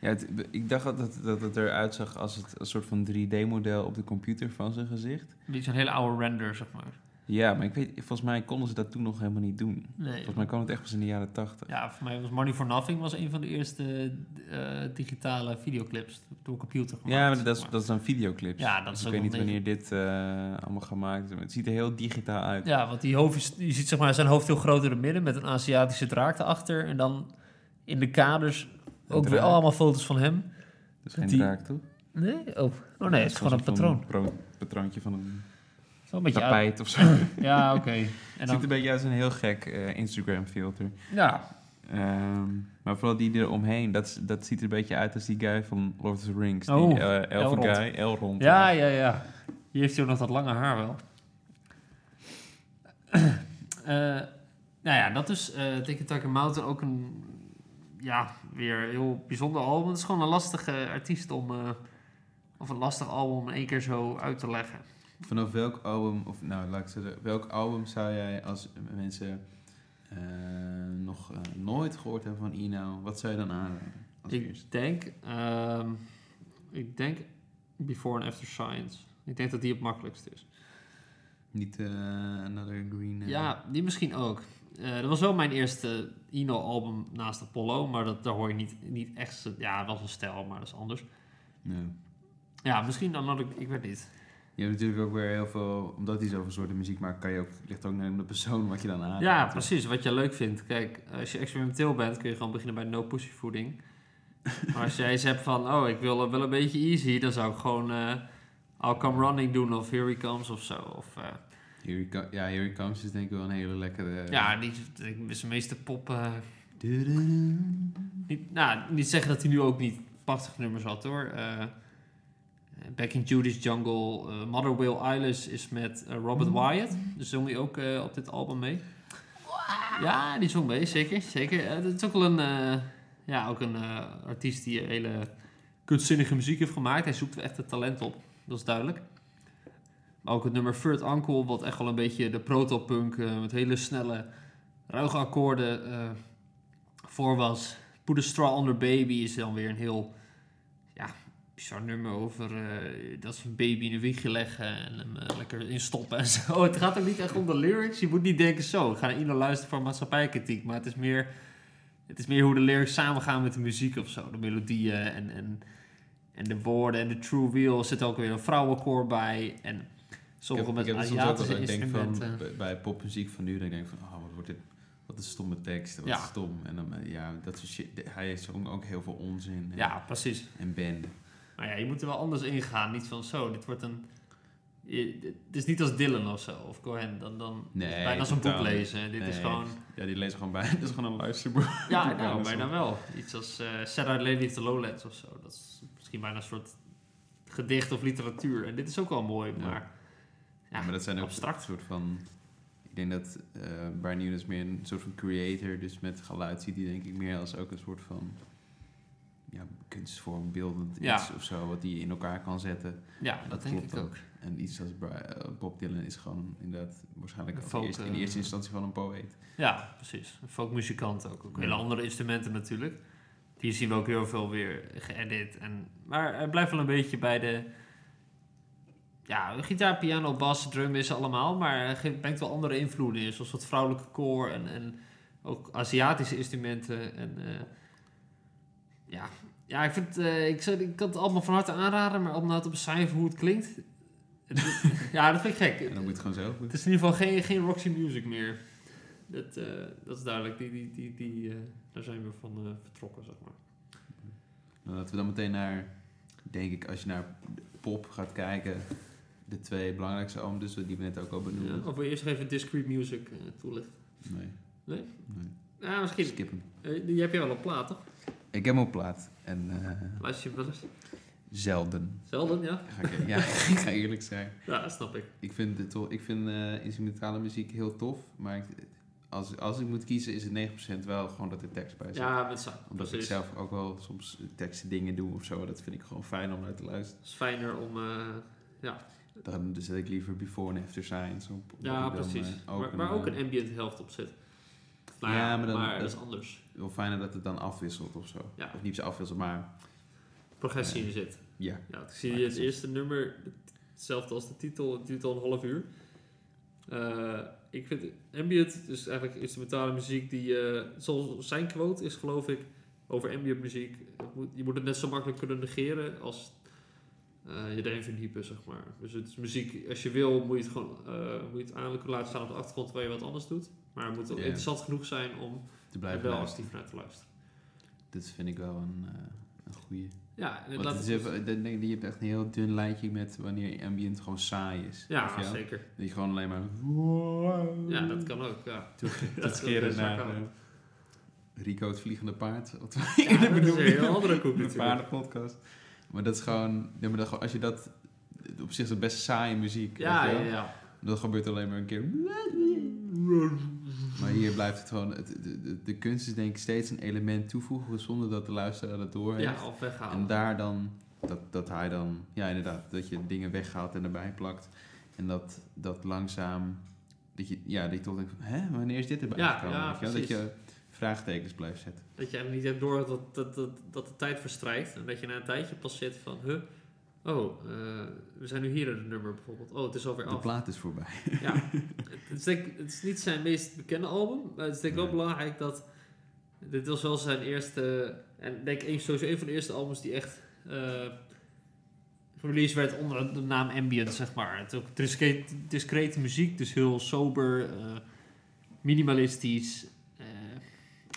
Speaker 1: Ja, het- ik dacht dat het, dat het eruit zag als het, een soort van 3D-model op de computer van zijn gezicht.
Speaker 2: Een beetje een hele oude render, zeg maar.
Speaker 1: Ja, maar ik weet, volgens mij konden ze dat toen nog helemaal niet doen.
Speaker 2: Nee.
Speaker 1: Volgens mij kwam het echt pas in de jaren 80.
Speaker 2: Ja, voor mij was Money for Nothing was een van de eerste eh, digitale videoclips door computer gemaakt.
Speaker 1: Ja, maar
Speaker 2: zeg
Speaker 1: dat is, dat is dan videoclips.
Speaker 2: Ja, dat
Speaker 1: Dus
Speaker 2: is
Speaker 1: ik
Speaker 2: ook
Speaker 1: weet
Speaker 2: nog
Speaker 1: niet wanneer dit eh, allemaal gemaakt is. maar Het ziet er heel digitaal uit.
Speaker 2: Ja, want die hoofd is- je ziet zeg maar zijn hoofd heel groot in het midden met een Aziatische draak erachter. En dan in de kaders
Speaker 1: Een
Speaker 2: ook weer
Speaker 1: draak.
Speaker 2: allemaal foto's van hem.
Speaker 1: Dat is Dus geen
Speaker 2: die-
Speaker 1: draak, toch?
Speaker 2: Nee? Oh, oh nee, het is gewoon
Speaker 1: Volgens mij
Speaker 2: een patroon.
Speaker 1: pro- patroontje van een
Speaker 2: Zo een beetje uit-
Speaker 1: tapijt of zo. Het
Speaker 2: Ja, oké. En
Speaker 1: ziet er een
Speaker 2: dan,
Speaker 1: beetje uit als een heel gek eh, Instagram-filter.
Speaker 2: ja,
Speaker 1: Ehm, maar vooral die eromheen, dat, is- dat ziet er een beetje uit als die guy van Lord of the Rings.
Speaker 2: Oh,
Speaker 1: die eh, elfen
Speaker 2: Elrond.
Speaker 1: guy, Elrond.
Speaker 2: ja, ja, ja. Hier heeft hij ook nog dat lange haar wel. Eh, nou ja, dat is eh Ticket Tucker Mountain ook een... Ja, weer een heel bijzonder album. Het is gewoon een lastige artiest om... eh, of een lastig album om in één keer zo uit te leggen.
Speaker 1: Vanaf welk album, of nou laat ik zeggen, welk album zou jij als mensen eh, nog eh, nooit gehoord hebben van Ino, wat zou je dan aanraden als
Speaker 2: ik
Speaker 1: eerste?
Speaker 2: denk, ehm, ik denk Before and After Science. Ik denk dat die het makkelijkst is.
Speaker 1: Niet eh, Another Green... eh,
Speaker 2: Ja, die misschien ook. Eh, dat was wel mijn eerste Ino-album naast Apollo, maar dat, daar hoor je niet, niet echt... z'n- Ja, wel zijn stijl, maar dat is anders.
Speaker 1: nee.
Speaker 2: Ja, misschien Another... Ik weet niet.
Speaker 1: Je hebt natuurlijk ook weer heel veel, omdat hij zoveel soorten muziek maakt, kan je ook, ligt ook naar de persoon wat je dan aanraadt.
Speaker 2: ja, precies. Wat je leuk vindt. Kijk, als je experimenteel bent, kun je gewoon beginnen bij no pussy voeding. maar als jij zegt van, oh, ik wil eh, wel een beetje easy, dan zou ik gewoon eh I'll Come Running doen of Here He Comes of zo. Of, eh,
Speaker 1: Here he Co- ja, Here He Comes is denk ik wel een hele lekkere... eh,
Speaker 2: Ja, die die is de meeste pop. eh,
Speaker 1: Dududu.
Speaker 2: niet, nou, niet zeggen dat hij nu ook niet prachtige nummers had hoor. Eh, Back in Judy's Jungle, eh, Mother Will Eyeless is met eh, Robert Wyatt. Dus zong hij ook eh, op dit album mee. Ja, die zong mee, zeker. zeker. Eh, dat is ook wel een, eh, ja, ook een eh, artiest die hele kunstzinnige muziek heeft gemaakt. Hij zoekt wel echt het talent op, dat is duidelijk. Maar ook het nummer Third Uncle, wat echt wel een beetje de protopunk eh met hele snelle, ruige akkoorden eh, voor was. Put a Straw on the Baby is dan weer een heel ja, bizar nummer over eh, dat ze een baby in een wiegje leggen en hem eh, lekker instoppen en zo. Oh, Het gaat ook niet echt om de lyrics. Je moet niet denken zo, ik ga naar Ino luisteren voor maatschappijkritiek. Maar het is meer, het is meer hoe de lyrics samengaan met de muziek of zo. De melodieën en, en, en de woorden en de true wheel zit ook weer een vrouwenkoor bij. En sommige
Speaker 1: ik heb, ik
Speaker 2: met
Speaker 1: heb soms ook
Speaker 2: Aziatische
Speaker 1: altijd denk van,
Speaker 2: instrumenten.
Speaker 1: bij- bij popmuziek van nu, dat ik denk van, oh, wat wordt dit, wat een stomme tekst, wat
Speaker 2: Ja.
Speaker 1: stom. En dan, eh, ja, dat soort shit. De- Hij zong ook heel veel onzin en,
Speaker 2: Ja, precies.
Speaker 1: en bende.
Speaker 2: Maar ja, je moet er wel anders ingaan. Niet van zo, dit wordt een... je- Het is niet als Dylan of zo, of Cohen. Dan, dan
Speaker 1: Nee,
Speaker 2: het is bijna als een boek
Speaker 1: totaal niet.
Speaker 2: lezen. Dit is
Speaker 1: Nee.
Speaker 2: gewoon...
Speaker 1: Eh, Ja, die lezen gewoon bij. Dat is gewoon een luisterboek.
Speaker 2: Ja,
Speaker 1: Boek aan
Speaker 2: nou,
Speaker 1: de
Speaker 2: bijna
Speaker 1: zon.
Speaker 2: wel. Iets als eh Sad Eyed Lady of the Lowlands of zo. Dat is misschien bijna een soort gedicht of literatuur. En dit is ook wel mooi,
Speaker 1: Ja.
Speaker 2: maar... Ja,
Speaker 1: maar dat zijn ook
Speaker 2: abstract.
Speaker 1: een soort van... Ik denk dat eh Brian Eno is meer een soort van creator, dus met geluid ziet hij denk ik meer als ook een soort van... Ja, kunstvorm, beeldend
Speaker 2: Ja.
Speaker 1: iets of zo, wat hij in elkaar kan zetten.
Speaker 2: Ja, dat,
Speaker 1: Dat
Speaker 2: denk
Speaker 1: klopt
Speaker 2: ik
Speaker 1: ook.
Speaker 2: ook.
Speaker 1: En iets als Bri- eh, Bob Dylan is gewoon inderdaad waarschijnlijk
Speaker 2: Een
Speaker 1: als
Speaker 2: folk,
Speaker 1: eerste, in
Speaker 2: eh,
Speaker 1: eerste instantie van een poëet.
Speaker 2: Ja, precies. Een Folkmuzikant ook. ook
Speaker 1: Ja.
Speaker 2: hele andere instrumenten natuurlijk. Die zien we ook heel veel weer geëdit. En, maar het blijft wel een beetje bij de... Ja, gitaar, piano, bas, drum is allemaal. Maar hij ge- brengt wel andere invloeden in. Zoals wat vrouwelijke koor en, en ook Aziatische instrumenten. En eh, Ja, ja ik, vind, eh, ik, zou, ik kan het allemaal van harte aanraden, maar om nou te beschrijven hoe het klinkt. het- ja, dat vind ik gek.
Speaker 1: En dan moet je het gewoon zelf doen.
Speaker 2: Het is in ieder geval geen, geen Roxy Music meer. Dat, eh, dat is duidelijk. Die, die, die, die, eh, daar zijn we van eh, vertrokken, zeg maar.
Speaker 1: Nou, Laten we dan meteen naar, denk ik, als je naar pop gaat kijken, de twee belangrijkste albums, dus die we net ook al benoemden.
Speaker 2: Ja, of we eerst nog even Discrete Music eh, toelichten.
Speaker 1: Nee.
Speaker 2: Nee?
Speaker 1: Nee.
Speaker 2: Nou, misschien.
Speaker 1: Skip hem.
Speaker 2: eh, die heb je wel op plaat, toch?
Speaker 1: Ik heb hem op plaat. En eh,
Speaker 2: Luister je wel eens.
Speaker 1: zelden.
Speaker 2: Zelden, ja.
Speaker 1: Ga ik, ja, ik ga eerlijk zijn.
Speaker 2: Ja, snap ik.
Speaker 1: Ik vind, het toch, ik vind eh, instrumentale muziek heel tof, maar ik, als, als ik moet kiezen is het 9% wel gewoon dat er tekst bij zit.
Speaker 2: Ja, met zang.
Speaker 1: Omdat
Speaker 2: precies.
Speaker 1: ik zelf ook wel soms teksten dingen doe of zo. Dat vind ik gewoon fijn om naar te luisteren.
Speaker 2: Het is fijner om... eh,
Speaker 1: Dan zet ik liever Before en After Science op. omdat
Speaker 2: ja,
Speaker 1: ik dan,
Speaker 2: precies.
Speaker 1: eh,
Speaker 2: maar, maar ook
Speaker 1: eh,
Speaker 2: een ambient helft op zit. Nou
Speaker 1: Ja,
Speaker 2: ja,
Speaker 1: maar
Speaker 2: maar,
Speaker 1: dan-
Speaker 2: dat
Speaker 1: dat-
Speaker 2: is anders.
Speaker 1: Wel fijner dat het dan afwisselt of zo.
Speaker 2: Ja.
Speaker 1: Of niet zo afwisselt, maar
Speaker 2: Progressie in zit.
Speaker 1: ja.
Speaker 2: Ja, ik zie
Speaker 1: Maar
Speaker 2: je
Speaker 1: het
Speaker 2: het
Speaker 1: is-
Speaker 2: eerste nummer, hetzelfde als de titel, het duurt al een half uur. Eh, ik vind ambient, dus eigenlijk instrumentale muziek, die, eh, zoals zijn quote is geloof ik over ambient muziek, het moet- je moet het net zo makkelijk kunnen negeren als eh, je erin verdiepen, zeg maar. Dus het is muziek, als je wil, moet je het gewoon eh, moet je het aan kunnen laten staan op de achtergrond terwijl je wat anders doet. Maar het moet wel
Speaker 1: Ja.
Speaker 2: interessant genoeg zijn om
Speaker 1: Te
Speaker 2: er
Speaker 1: blijven
Speaker 2: wel
Speaker 1: luisteren.
Speaker 2: actief naar te luisteren.
Speaker 1: Dit vind ik wel een, eh, een goede.
Speaker 2: Ja, en
Speaker 1: Want
Speaker 2: laat
Speaker 1: het is
Speaker 2: het-
Speaker 1: even, dan denk ik, je hebt echt een heel dun lijntje met wanneer ambient gewoon saai is. Weet je
Speaker 2: ja
Speaker 1: wel?
Speaker 2: zeker.
Speaker 1: Dat je gewoon alleen maar
Speaker 2: Ja, dat kan ook, ja.
Speaker 3: Dat scheren
Speaker 2: zou
Speaker 3: naar
Speaker 2: kunnen.
Speaker 3: eh,
Speaker 1: eh, Rico het vliegende paard. Wat we
Speaker 2: Ja,
Speaker 1: eerder
Speaker 2: dat is
Speaker 1: benoemden.
Speaker 2: een heel andere koek
Speaker 1: De
Speaker 2: natuurlijk.
Speaker 1: paardenpodcast. Maar dat is gewoon, nee, maar dat, gewoon- als je dat, op zich is het best saaie muziek.
Speaker 2: Ja,
Speaker 1: weet
Speaker 2: ja,
Speaker 1: je wel?
Speaker 2: ja.
Speaker 1: Dat gebeurt alleen maar een keer. Maar hier blijft het gewoon, het, de, de, de kunst is denk ik steeds een element toevoegen zonder dat de luisteraar dat door heeft.
Speaker 2: Ja, of weghalen.
Speaker 1: En daar dan, dat, dat hij dan, ja inderdaad, dat je dingen weghaalt en erbij plakt. En dat, dat langzaam, dat je, ja, dat je toch denkt, van, hè, wanneer is dit erbij
Speaker 2: Ja,
Speaker 1: gekomen?
Speaker 2: ja,
Speaker 1: Weet je wel? dat
Speaker 2: precies.
Speaker 1: je vraagtekens blijft zetten.
Speaker 2: Dat je eigenlijk niet hebt door dat, dat, dat, dat de tijd verstrijkt. En dat je na een tijdje pas zit van, huh, oh, eh, we zijn nu hier in het nummer bijvoorbeeld. Oh, het is alweer
Speaker 1: De
Speaker 2: af.
Speaker 1: plaat is voorbij.
Speaker 2: Ja. het, is denk, ik- het is niet zijn meest bekende album, maar het is denk ik wel
Speaker 1: Nee.
Speaker 2: belangrijk dat... Dit was wel zijn eerste, en denk ik een- sowieso een van de eerste albums die echt eh release werd onder de naam Ambient, zeg maar. Het is ook discreet, discrete muziek, dus heel sober, eh, minimalistisch. eh,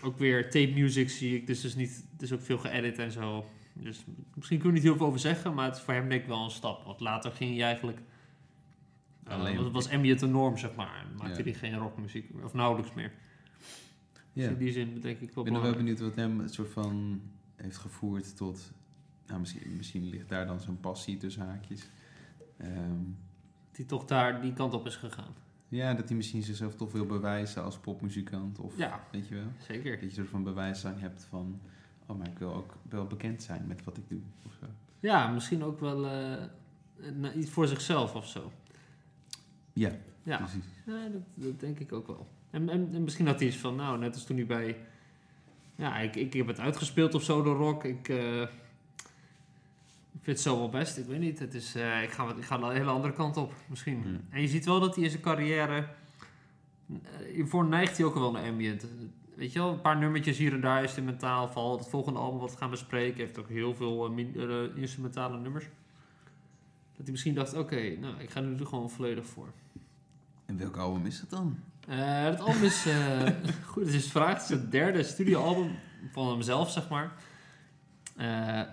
Speaker 2: ook weer tape music zie ik, dus het is, niet, het is ook veel geëdit en zo. Dus misschien kunnen we niet heel veel over zeggen, maar het is voor hem denk ik wel een stap. Want later ging hij eigenlijk... eh,
Speaker 1: Alleen-
Speaker 2: was, was ambient de norm, zeg maar. En Maakte
Speaker 1: Ja.
Speaker 2: hij geen rockmuziek, meer, of nauwelijks meer. Dus in die zin denk ik
Speaker 1: Ik ben
Speaker 2: wel
Speaker 1: nog wel
Speaker 2: belangrijk.
Speaker 1: benieuwd wat hem een soort van heeft gevoerd tot... Nou, misschien, misschien ligt daar dan zijn passie tussen haakjes. Ehm,
Speaker 2: Die toch daar die kant op is gegaan.
Speaker 1: ja, dat hij misschien zichzelf toch wil bewijzen als popmuzikant. Of,
Speaker 2: Ja.
Speaker 1: Weet je wel?
Speaker 2: Zeker.
Speaker 1: Dat je een soort van bewijsdrang hebt van... Oh, maar ik wil ook wel bekend zijn met wat ik doe. Of zo.
Speaker 2: Ja, misschien ook wel eh, na- iets voor zichzelf of zo.
Speaker 1: Ja,
Speaker 2: Ja.
Speaker 1: precies.
Speaker 2: Ja, dat, dat denk ik ook wel. En, en, en misschien dat hij is van, nou, net als toen hij bij... Ja, ik, ik heb het uitgespeeld of zo door Rock. Ik eh, ik vind het zo wel best. Ik weet niet. Het is, eh, ik, ga, wat- ik ga de hele andere kant op, misschien.
Speaker 1: Hmm.
Speaker 2: En je ziet wel dat hij in zijn carrière... eh, Hiervoor neigt hij ook wel naar ambient. Weet je wel, een paar nummertjes hier en daar is mentaal val. Het volgende album wat we gaan bespreken heeft ook heel veel eh, min- eh, instrumentale nummers. Dat hij misschien dacht, oké, nou, ik ga er nu gewoon volledig voor.
Speaker 1: En welk album is dat dan?
Speaker 2: Eh, het album is, eh, goed, het is vraag, het is het derde studioalbum van hemzelf, zeg maar. Eh,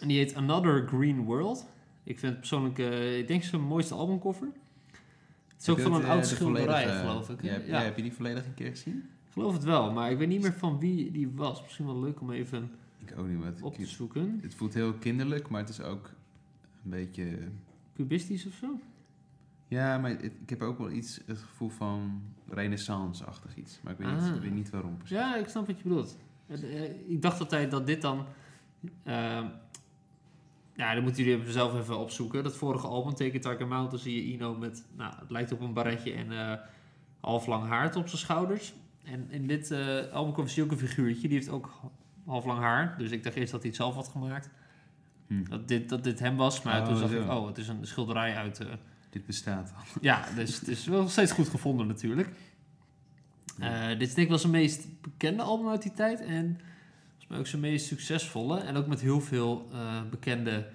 Speaker 2: en die heet Another Green World. Ik vind het persoonlijk, eh, ik denk zijn mooiste albumcover. Het is ook
Speaker 1: Heb je
Speaker 2: van een
Speaker 1: het,
Speaker 2: oud
Speaker 1: eh, de
Speaker 2: schilderij,
Speaker 1: volledige-
Speaker 2: geloof ik. hè?
Speaker 1: Ja, heb,
Speaker 2: Ja.
Speaker 1: ja, heb je die volledig een keer gezien?
Speaker 2: Ik geloof het wel, maar ik weet niet meer van wie die was. Misschien wel leuk om even
Speaker 1: Ik ook niet, maar het,
Speaker 2: op te zoeken.
Speaker 1: het voelt heel kinderlijk, maar het is ook een beetje...
Speaker 2: Cubistisch of zo?
Speaker 1: Ja, maar het- ik heb ook wel iets, het gevoel van renaissance-achtig iets. Maar ik weet,
Speaker 2: Ah.
Speaker 1: niet, ik weet niet waarom precies.
Speaker 2: Ja, ik snap wat je bedoelt. Het, eh, Ik dacht altijd dat dit dan... ehm, ja, dan moeten jullie zelf even opzoeken. Dat vorige album, Take It Like a Mountain, zie je Ino met... Nou, het lijkt op een barretje en eh half lang haard op zijn schouders. En in dit eh album komt zie je ook een figuurtje. Die heeft ook half lang haar. Dus ik dacht eerst dat hij het zelf had gemaakt.
Speaker 1: Hm.
Speaker 2: Dat, dit, dat dit hem was. Maar
Speaker 1: Oh,
Speaker 2: toen zag
Speaker 1: zo.
Speaker 2: ik, oh, het is een schilderij uit... eh,
Speaker 1: Dit bestaat al.
Speaker 2: ja, dus het is wel steeds goed gevonden natuurlijk. Eh, dit is denk ik wel zijn meest bekende album uit die tijd. En volgens maar ook zijn meest succesvolle. En ook met heel veel eh, bekende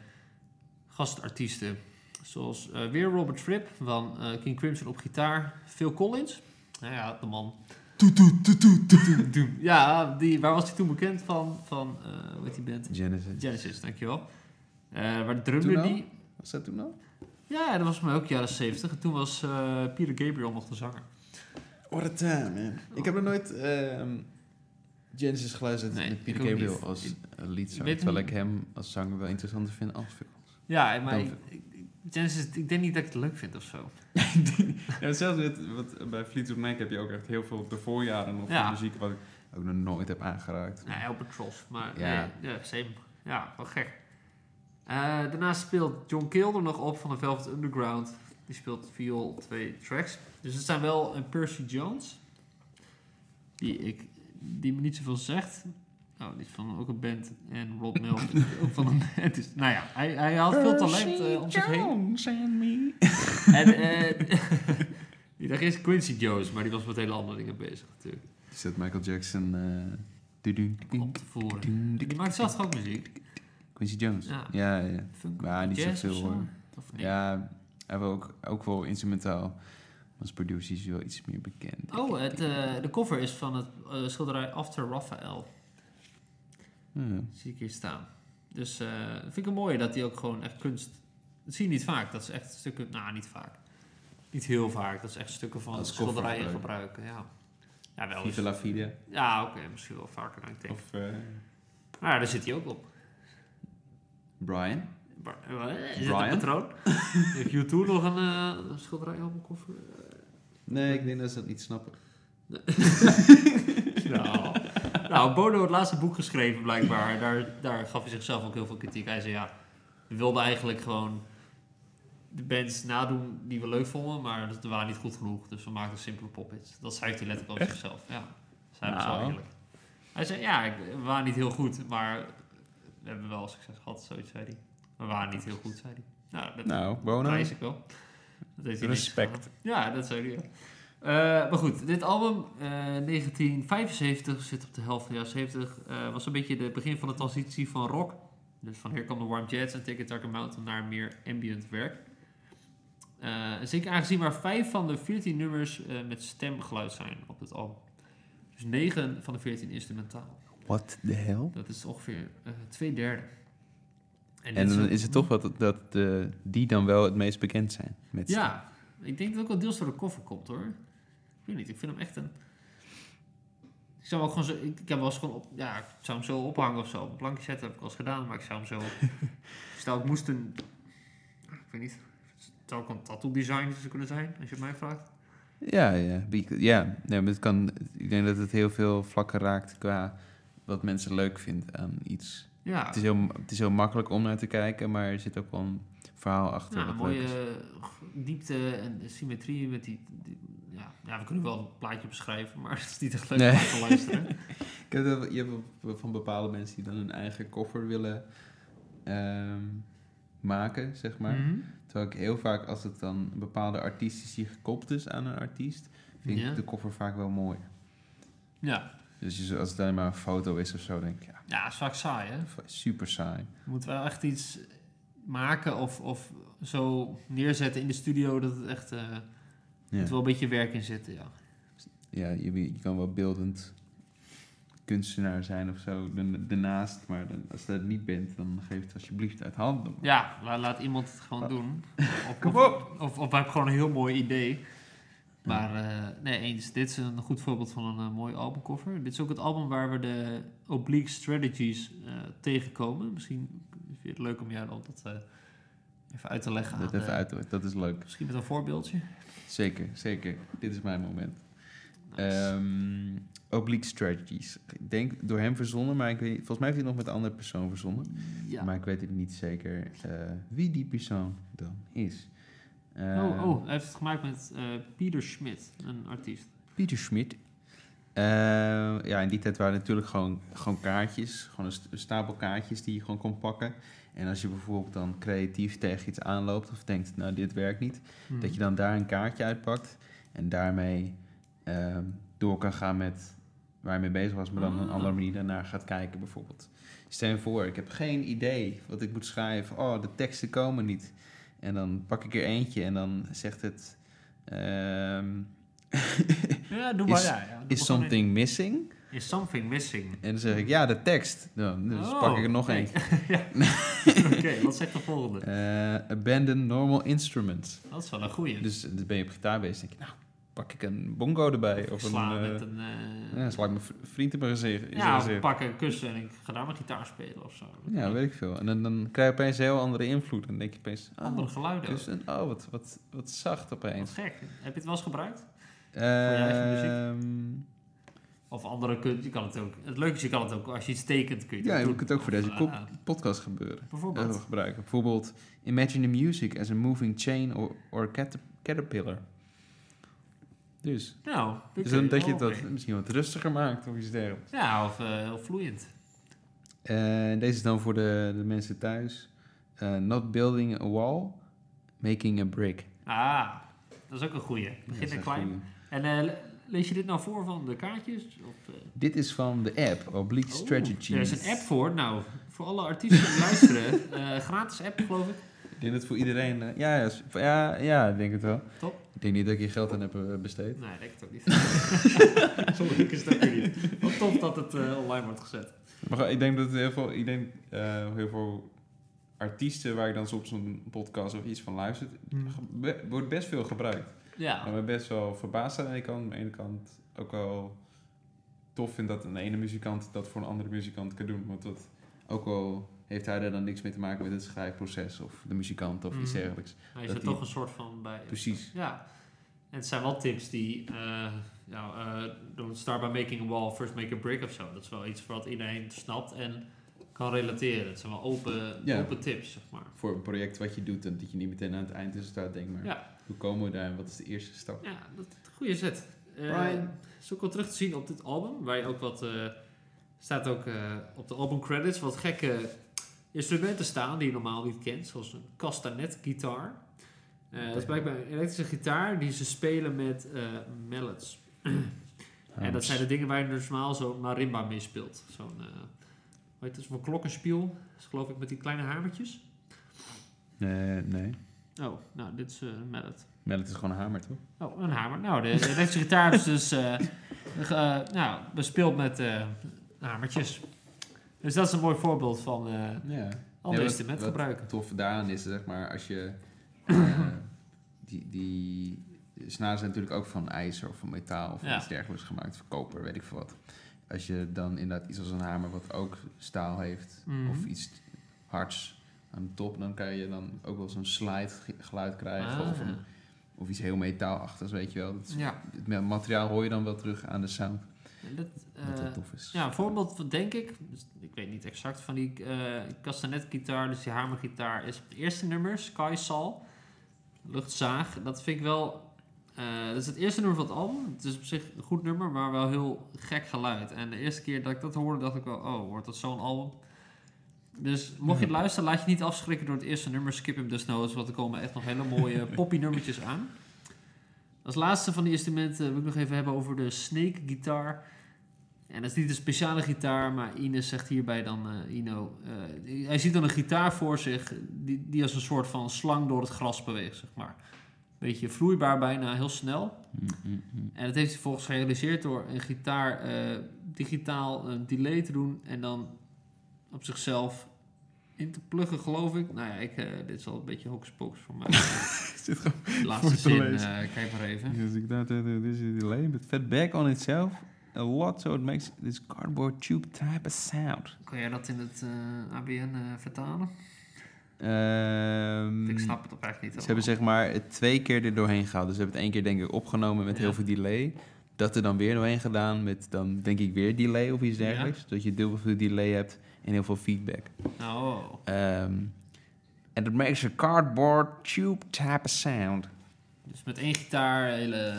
Speaker 2: gastartiesten. Zoals eh, weer Robert Fripp van eh, King Crimson op gitaar. Phil Collins. Nou ja, de man. Ja, die, waar was hij toen bekend van? Van, eh hoe heet die band?
Speaker 1: Genesis.
Speaker 2: Genesis, dankjewel. Eh waar
Speaker 1: Toen
Speaker 2: drummer
Speaker 1: al?
Speaker 2: die...
Speaker 1: Was dat toen al?
Speaker 2: Ja, dat was voor mij ook jaren 70. En toen was eh, Peter Gabriel nog de zanger.
Speaker 1: What a time, man. Ik heb nog nooit ehm, Genesis geluisterd
Speaker 2: Nee,
Speaker 1: met Peter
Speaker 2: ik ook
Speaker 1: Gabriel
Speaker 2: niet.
Speaker 1: als
Speaker 2: Ik-
Speaker 1: eh, leadzanger.
Speaker 2: weet
Speaker 1: Terwijl
Speaker 2: niet.
Speaker 1: ik hem als zanger wel interessanter vind als Phil.
Speaker 2: Ja, maar
Speaker 1: Dan-
Speaker 2: ik, ik- Genesis, ik denk niet dat ik het leuk vind of zo.
Speaker 3: Ja, zelfs met, wat, bij Fleetwood Mac heb je ook echt heel veel de voorjaren nog
Speaker 2: Ja.
Speaker 3: van muziek. Wat ik,
Speaker 1: Ook nog nooit heb aangeraakt.
Speaker 2: Nou, Albatross, maar
Speaker 1: Ja.
Speaker 2: nee, ja, same. Ja, wel gek. Eh, daarna speelt John Kilder nog op van de Velvet Underground. Die speelt viool op twee tracks. Dus het zijn wel een Percy Jones. Die, ik, die me niet zoveel zegt. Oh, die is van ook een band. En Rob Mill, ook van een band. Dus, nou ja, hij, hij had veel talent eh, om zich heen.
Speaker 1: me.
Speaker 2: En eh, die dag is Quincy Jones, maar die was met hele andere dingen bezig natuurlijk.
Speaker 1: Is dat Michael Jackson? eh, du-dun, du-dun,
Speaker 2: Om te voeren.
Speaker 1: du-dun,
Speaker 2: Die
Speaker 1: du-dun.
Speaker 2: maakt zelf toch ook muziek.
Speaker 1: Quincy Jones?
Speaker 2: Ja.
Speaker 1: ja. ja.
Speaker 2: Funk,
Speaker 1: Maar niet
Speaker 2: jazz
Speaker 1: zoveel,
Speaker 2: of zo?
Speaker 1: hoor.
Speaker 2: Of niet?
Speaker 1: Ja, hij wil ook, ook wel instrumentaal. Maar Als producer is hij wel iets meer bekend.
Speaker 2: Oh, het, eh, de cover is van het eh, schilderij After Raphael.
Speaker 1: Ja.
Speaker 2: Zie ik hier staan. Dus eh, vind ik het mooi dat hij ook gewoon echt kunst... Dat zie je niet vaak. Dat is echt stukken... Nou, niet vaak. Niet heel vaak. Dat is echt stukken van
Speaker 1: Als cover
Speaker 2: schilderijen gebruiken. Ja, ja wel eens.
Speaker 1: Viva la vida.
Speaker 2: Ja, oké. misschien wel vaker dan ik denk.
Speaker 3: of, eh,
Speaker 2: Maar ja, daar zit hij ook op.
Speaker 1: Brian?
Speaker 2: Bar- eh, Is het
Speaker 1: Brian?
Speaker 2: een patroon? Heeft U2 nog een eh, een schilderij op een koffer?
Speaker 1: Nee, ik denk dat ze dat niet snappen.
Speaker 2: Nou, nou, Bono had het laatste boek geschreven blijkbaar. Daar, daar gaf hij zichzelf ook heel veel kritiek. Hij zei ja, we wilden eigenlijk gewoon de bands nadoen die we leuk vonden, maar dat waren niet goed genoeg. Dus we maakten simpele pophits. Dat zei hij letterlijk over zichzelf. Ja, zei hij
Speaker 1: Nou.
Speaker 2: zo eerlijk. Hij zei ja, ik- we waren niet heel goed, maar we hebben wel succes gehad, zoiets zei hij. We waren niet heel goed, zei hij. Nou, dat
Speaker 1: Nou,
Speaker 2: dat
Speaker 1: Bono.
Speaker 2: prijs ik wel. Dat heeft hij
Speaker 1: Respect.
Speaker 2: niet gedaan. Ja, dat zou ik maar goed, dit album, eh, 1975, zit op de helft van de jaren 70. eh, was een beetje het begin van de transitie van rock. Dus van Here Come the Warm Jets en Take a Darker Mountain naar meer ambient werk. Eh, zeker aangezien maar vijf van de 14 nummers eh, met stemgeluid zijn op dit album. Dus 9 van de 14 instrumentaal.
Speaker 1: What the hell?
Speaker 2: Dat is ongeveer eh twee derde.
Speaker 1: En
Speaker 2: dit
Speaker 1: dan
Speaker 2: een-
Speaker 1: is het toch wat dat eh, die dan wel het meest bekend zijn. Met
Speaker 2: Ja, ik denk dat het ook wel deels door de koffer komt hoor. Ik weet niet, ik vind hem echt een. Ik zou hem ook gewoon zo. Ik, ik heb wel eens gewoon op. Ja, ik zou hem zo ophangen of zo. Op een plankje zetten heb ik al eens gedaan, maar ik zou hem zo. stel, ik moest een. Ik weet niet. Het zou ook een tattoo design kunnen zijn, als je het mij vraagt.
Speaker 1: Ja, ja. Be- ja. Nee, maar het kan, ik denk dat het heel veel vlakken raakt qua wat mensen leuk vinden aan iets.
Speaker 2: Ja,
Speaker 1: Het is, heel, het is heel makkelijk om naar te kijken, maar er zit ook wel een verhaal achter.
Speaker 2: ja,
Speaker 1: wat
Speaker 2: een
Speaker 1: leuk is.
Speaker 2: Nou, mooie diepte en symmetrie met die. die- ja, ja, we kunnen wel een plaatje beschrijven, maar het is niet echt leuk
Speaker 1: Nee.
Speaker 2: om naar te luisteren.
Speaker 1: Ik heb dat- je hebt wel van bepaalde mensen die dan hun eigen koffer willen ehm, maken, zeg maar.
Speaker 2: Mhm.
Speaker 1: Terwijl ik heel vaak, als het dan een bepaalde artiest is die gekoppeld is aan een artiest, vind
Speaker 2: Ja.
Speaker 1: ik de koffer vaak wel mooi.
Speaker 2: Ja.
Speaker 1: Dus je- als het alleen maar een foto is of zo, denk ik, ja,
Speaker 2: ja, is vaak saai hè.
Speaker 1: super saai.
Speaker 2: Moeten we echt iets maken of, of zo neerzetten in de studio dat het echt. eh
Speaker 1: Ja,
Speaker 2: moet wel een beetje werk in zitten, ja.
Speaker 1: ja je, je kan wel beeldend kunstenaar zijn of zo, da- daarnaast, maar dan, als je dat niet bent, dan geef het alsjeblieft uit handen.
Speaker 2: Ja, la- laat iemand het gewoon
Speaker 1: Ah.
Speaker 2: doen. Of,
Speaker 1: Kom
Speaker 2: Of, of, we hebben gewoon een heel mooi idee. Maar eh, nee, eens. Dit is een goed voorbeeld van een eh, mooi albumcover. Dit is ook het album waar we de Oblique Strategies eh, tegenkomen. Misschien vind je het leuk om jou dan dat eh, even uit te leggen.
Speaker 1: Dat
Speaker 2: aan,
Speaker 1: even
Speaker 2: eh,
Speaker 1: uit, dat is leuk.
Speaker 2: Misschien met een voorbeeldje.
Speaker 1: Zeker, zeker. Dit is mijn moment. Eh,
Speaker 2: Nice.
Speaker 1: Ehm, oblique strategies. Ik denk door hem verzonnen, maar ik weet niet- volgens mij heeft hij het nog met een andere persoon verzonnen.
Speaker 2: ja.
Speaker 1: Maar ik weet het niet zeker eh, wie die persoon dan is. Eh,
Speaker 2: oh, oh, hij heeft het gemaakt met eh, Pieter Schmidt, een artiest.
Speaker 1: Pieter Schmid. Eh, ja, in die tijd waren het natuurlijk gewoon, gewoon kaartjes. Gewoon een, st- een stapel kaartjes die je gewoon kon pakken. En als je bijvoorbeeld dan creatief tegen iets aanloopt of denkt, nou dit werkt niet.
Speaker 2: Hmm.
Speaker 1: Dat je dan daar een kaartje uitpakt en daarmee ehm, door kan gaan met waar je mee bezig was, maar dan
Speaker 2: Ah.
Speaker 1: op een andere manier daarnaar gaat kijken bijvoorbeeld. Stel je voor, ik heb geen idee wat ik moet schrijven. Oh, de teksten komen niet. En dan pak ik er eentje en dan zegt het... ehm,
Speaker 2: Ja, doe
Speaker 1: Is-
Speaker 2: maar. ja, ja. Doe
Speaker 1: is
Speaker 2: maar gewoon
Speaker 1: something missing?
Speaker 2: in. Is something missing?
Speaker 1: En dan zeg ik, ja, de tekst. Nou, dus
Speaker 2: Oh,
Speaker 1: pak ik er nog
Speaker 2: nee.
Speaker 1: eentje.
Speaker 2: Oké, wat zegt de volgende?
Speaker 1: Eh, abandon normal instruments.
Speaker 2: Dat is wel een goeie.
Speaker 1: Dus dan ben je op gitaar bezig. Denk je, nou, pak ik een bongo erbij. Of een,
Speaker 2: Slaan
Speaker 1: eh,
Speaker 2: met een... eh,
Speaker 1: ja, sla ik mijn v- vriend in mijn gezicht. in zijn
Speaker 2: ja, of
Speaker 1: gezicht.
Speaker 2: pak een kussen en ik ga daar mijn gitaar spelen of zo.
Speaker 1: Ja, weet ik veel. En dan, dan krijg je opeens een heel andere invloed. En dan denk je opeens, oh,
Speaker 2: Andere geluiden.
Speaker 1: dus een, oh wat, wat, wat zacht
Speaker 2: Wat
Speaker 1: opeens.
Speaker 2: gek. Heb je het wel eens gebruikt? je eigen muziek?
Speaker 1: Ehm
Speaker 2: Of andere kunst. Je kan het ook. Het leuke is, je kan het ook als je iets tekent, kun je het
Speaker 1: ja,
Speaker 2: ook
Speaker 1: je
Speaker 2: doen.
Speaker 1: kunt het ook voor
Speaker 2: Of,
Speaker 1: deze
Speaker 2: eh,
Speaker 1: kop- podcast gebeuren. eh,
Speaker 2: Bijvoorbeeld.
Speaker 1: gebruiken. Bijvoorbeeld, imagine the music as a moving chain or, or cat- caterpillar. Dus,
Speaker 2: Nou, dit
Speaker 1: dus
Speaker 2: kun
Speaker 1: dan dat je
Speaker 2: wel
Speaker 1: het wat-
Speaker 2: mee.
Speaker 1: misschien wat rustiger maakt of iets dergelijks.
Speaker 2: Ja, of eh, heel vloeiend.
Speaker 1: Eh, deze is dan voor de, de mensen thuis. Eh, not building a wall, making a brick.
Speaker 2: Ah, dat is ook een goeie.
Speaker 1: Dat is
Speaker 2: Begin en
Speaker 1: echt
Speaker 2: klein.
Speaker 1: goed.
Speaker 2: En eh, le- lees je dit nou voor van de kaartjes? Of, eh,
Speaker 1: Dit is van de app, Oblique Strategy.
Speaker 2: Oh, Er is een app voor. Nou, voor alle artiesten die luisteren. eh, gratis app, geloof ik.
Speaker 1: Ik denk dat voor iedereen... eh, ja, ja, is- ja, ja, ik denk het wel.
Speaker 2: Top.
Speaker 1: Ik denk niet dat ik hier geld aan heb eh, besteed.
Speaker 2: Nee, dat ook niet. Zo leuk is dat weer niet. Wat tof dat het eh, online wordt gezet.
Speaker 3: Maar goed, ik denk dat heel veel, ik denk, eh, heel veel artiesten waar ik dan soms een podcast of iets van luister, ge- be- wordt best veel gebruikt.
Speaker 2: Hmm. Ja.
Speaker 3: En we best wel verbaasd zijn aan de ene kant. Aan de ene kant ook wel tof vind dat een ene muzikant dat voor een andere muzikant kan doen. Want dat,
Speaker 1: Ook al heeft hij daar dan niks mee te maken met het schrijfproces of de muzikant of iets
Speaker 2: Mhm.
Speaker 1: dergelijks.
Speaker 2: Hij is
Speaker 1: Dat
Speaker 2: er
Speaker 1: die-
Speaker 2: toch een soort van bij.
Speaker 1: Precies.
Speaker 2: Ja. En het zijn wel tips die, eh nou, eh, don't start by making a wall, first make a brick of zo. Dat is wel iets wat iedereen snapt en kan relateren. Het zijn wel open,
Speaker 1: Ja.
Speaker 2: open tips, zeg maar.
Speaker 1: Voor een project wat je doet en dat je niet meteen aan het eindresultaat denkt, maar
Speaker 2: Ja.
Speaker 1: hoe komen we daar en wat is de eerste stap?
Speaker 2: Ja, dat is een goede zet. Eh,
Speaker 1: Brian.
Speaker 2: is ook wel terug te zien op dit album, waar je ook wat... eh, staat ook eh, op de albumcredits wat gekke instrumenten staan die je normaal niet kent, zoals een castanet-gitaar. Eh, dat is blijkbaar een elektrische gitaar die ze spelen met eh, mallets.
Speaker 1: Oh,
Speaker 2: En dat zijn de dingen waar je dus normaal zo'n marimba mee speelt. Zo'n, eh hoe heet dat, zo'n klokkenspiel. Dat is geloof ik met die kleine hamertjes.
Speaker 1: Nee, nee.
Speaker 2: Oh, nou, dit is eh, een mallet.
Speaker 1: Maar dat is gewoon een hamer, toch?
Speaker 2: Oh, een hamer. Nou, de, de elektrische gitaar is dus eh, ge- eh, nou, bespeeld met eh, hamertjes. Dus dat is een mooi voorbeeld van eh
Speaker 1: Ja.
Speaker 2: ander
Speaker 1: wat-
Speaker 2: instrument
Speaker 1: wat-
Speaker 2: gebruiken.
Speaker 1: tof daaraan is, zeg maar, als je... eh, die, die de snaren zijn natuurlijk ook van ijzer of van metaal of van
Speaker 2: Ja.
Speaker 1: iets dergelijks gemaakt. Van koper, weet ik veel wat. Als je dan inderdaad iets als een hamer wat ook staal heeft
Speaker 2: Mhm.
Speaker 1: of iets hards aan de top... dan kan je dan ook wel zo'n slide ge- geluid krijgen
Speaker 2: Ah.
Speaker 1: of, een- of iets heel metaalachtigs, weet je wel. Dat is-
Speaker 2: ja,
Speaker 1: het ma- materiaal hoor je dan wel terug aan de sound.
Speaker 2: en dat,
Speaker 1: dat
Speaker 2: eh,
Speaker 1: dat tof is.
Speaker 2: Ja, een voorbeeld van, denk ik, dus ik weet niet exact, van die eh castanetgitaar, dus die hamergitaar, is het eerste nummer, Sky Sal, Luchtzaag. Dat vind ik wel, eh, dat is het eerste nummer van het album. Het is op zich een goed nummer, maar wel heel gek geluid. En de eerste keer dat ik dat hoorde, dacht ik wel, oh, wordt dat zo'n album? Dus mocht je het luisteren, laat je niet afschrikken door het eerste nummer. Skip hem desnoods, want er komen echt nog hele mooie poppy nummertjes aan. Als laatste van die instrumenten wil ik nog even hebben over de snake gitaar. En dat is niet een speciale gitaar, maar Ines zegt hierbij dan, eh, Ino, eh, hij ziet dan een gitaar voor zich die, die als een soort van slang door het gras beweegt, zeg maar. Beetje vloeibaar bijna, heel snel.
Speaker 1: Mm,
Speaker 2: En dat heeft hij volgens gerealiseerd door een gitaar eh, digitaal een delay te doen en dan op zichzelf in te pluggen, geloof ik. Nou ja, ik, eh, dit is al een beetje hocus pocus voor mij. De laatste
Speaker 3: voor te
Speaker 2: zin,
Speaker 3: lezen?
Speaker 2: eh, kijk maar even.
Speaker 1: Dus ik dacht, eh, dit is een delay, but fed back on itself a lot, so it makes this cardboard tube type of sound.
Speaker 2: Kan jij dat in het eh, ABN eh, vertalen?
Speaker 1: Ehm,
Speaker 3: Hmm.
Speaker 2: Ik snap het ook eigenlijk niet.
Speaker 1: Ze hebben
Speaker 2: helemaal.
Speaker 1: zeg maar het twee keer er doorheen gehaald. Dus ze hebben het één keer denk ik opgenomen met
Speaker 2: Ja.
Speaker 1: heel veel delay. Dat er dan weer doorheen gedaan met dan denk ik weer delay of iets
Speaker 2: Ja.
Speaker 1: dergelijks. Dat je dubbel veel delay hebt en heel veel feedback.
Speaker 2: Oh.
Speaker 1: Ehm, En dat makes a cardboard tube type of sound.
Speaker 2: Dus met één gitaar, hele...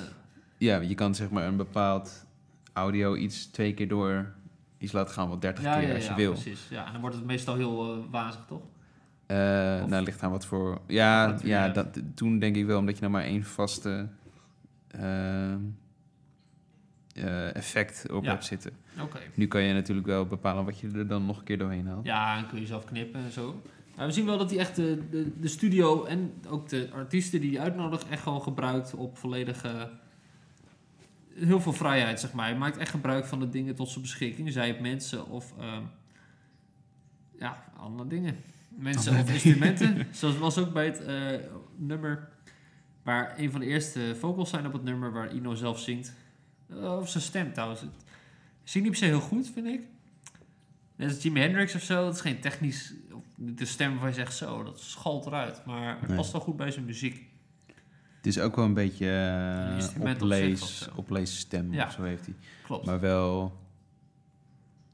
Speaker 1: Ja, je kan zeg maar een bepaald audio iets twee keer door iets laten gaan, wat 30 keer als je wil.
Speaker 2: precies. Ja, en dan wordt het meestal heel eh, wazig, toch?
Speaker 1: Eh,
Speaker 2: Of-
Speaker 1: nou, ligt aan wat voor... Ja,
Speaker 2: Wat u
Speaker 1: ja
Speaker 2: hebt.
Speaker 1: dat, toen denk ik wel, omdat je nou maar één vaste... ehm, eh, effect op
Speaker 2: Ja.
Speaker 1: hebt zitten.
Speaker 2: Oké.
Speaker 1: Nu kan je natuurlijk wel bepalen wat je er dan nog een keer doorheen haalt.
Speaker 2: Ja, en kun je zelf knippen en zo. Maar we zien wel dat hij echt de, de, de studio en ook de artiesten die hij uitnodigt echt gewoon gebruikt op volledige... Heel veel vrijheid, zeg maar. Hij maakt echt gebruik van de dingen tot zijn beschikking. Zij het mensen of... ehm, ja, andere dingen. Mensen
Speaker 1: Oh,
Speaker 2: of instrumenten. Zoals was ook bij het eh, nummer... Waar een van de eerste vocals zijn op het nummer waar Ino zelf zingt. Eh, Of zijn stem trouwens. Het zingt niet per se heel goed, vind ik. Net als Jimi Hendrix of zo, dat is geen technisch. De stem waarvan je zegt zo, dat schalt eruit. Maar het
Speaker 1: Nee.
Speaker 2: past wel goed bij zijn muziek.
Speaker 1: Het is ook wel een beetje
Speaker 2: Een
Speaker 1: eh
Speaker 2: instrument op zich of
Speaker 1: oplees,
Speaker 2: zo.
Speaker 1: opleesstem
Speaker 2: Ja.
Speaker 1: of zo heeft hij.
Speaker 2: Klopt.
Speaker 1: Maar wel...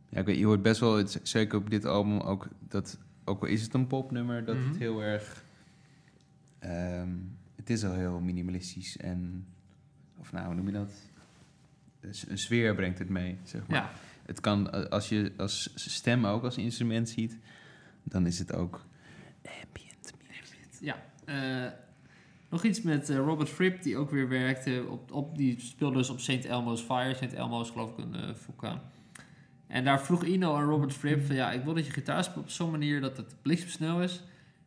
Speaker 1: Ja, ik weet, je hoort best wel, het- zeker op dit album, ook dat... Ook al is het een popnummer, dat
Speaker 2: Mhm.
Speaker 1: het heel erg... ehm, het is al heel minimalistisch en... Of nou, hoe noem je dat? Een s- Een sfeer brengt het mee, zeg maar.
Speaker 2: ja,
Speaker 1: Het kan, eh, als je als stem ook als instrument ziet, dan is het ook... Ambient music.
Speaker 2: eh, nog iets met eh, Robert Fripp, die ook weer werkte. Op, op, die speelde dus op St. Elmo's Fire. St. Elmo is geloof ik een eh, vulkaan. En daar vroeg Ino aan Robert Fripp van ja, ik wil dat je gitaar speelt op zo'n manier dat het bliksemsnel is.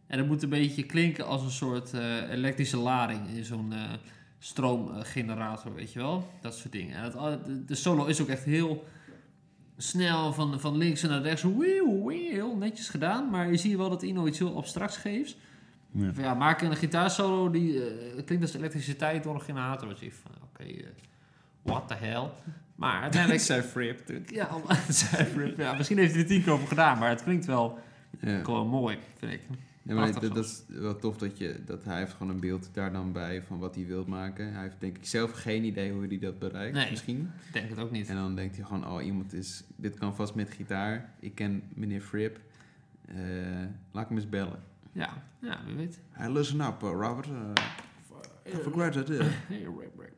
Speaker 2: En dat moet een beetje klinken als een soort eh, elektrische lading in zo'n eh, stroomgenerator, weet je wel. Dat soort dingen. En het, al- de, de solo is ook echt heel snel van, van links naar rechts. Wieuw, wieuw, heel netjes gedaan. Maar je ziet wel dat Ino iets heel abstracts geeft.
Speaker 1: Ja.
Speaker 2: Van, ja, maak een gitaarsolo die eh, klinkt als elektriciteit door een generator. Dus ik van, oké, eh, what the hell. Maar
Speaker 3: Ik
Speaker 2: uiteindelijk...
Speaker 3: zei Fripp. dus.
Speaker 2: ja, al- ja, misschien heeft hij er tien keer over gedaan, maar het klinkt wel
Speaker 1: Ja.
Speaker 2: gewoon mooi, vind ik.
Speaker 1: Ja, maar
Speaker 2: Prachtig
Speaker 1: dat, dat is wel tof dat, je, dat hij heeft gewoon een beeld daar dan bij van wat hij wil maken. Hij heeft denk ik zelf geen idee hoe hij dat bereikt,
Speaker 2: Nee.
Speaker 1: misschien.
Speaker 2: Ik denk het ook niet.
Speaker 1: En dan denkt hij gewoon, oh iemand is, dit kan vast met gitaar. Ik ken meneer Fripp. Eh, laat ik hem eens bellen.
Speaker 2: Ja, ja wie weet.
Speaker 1: Hey, listen up, eh, Robert. Eh, I forgot that, eh.
Speaker 2: Hey, Ray Ray.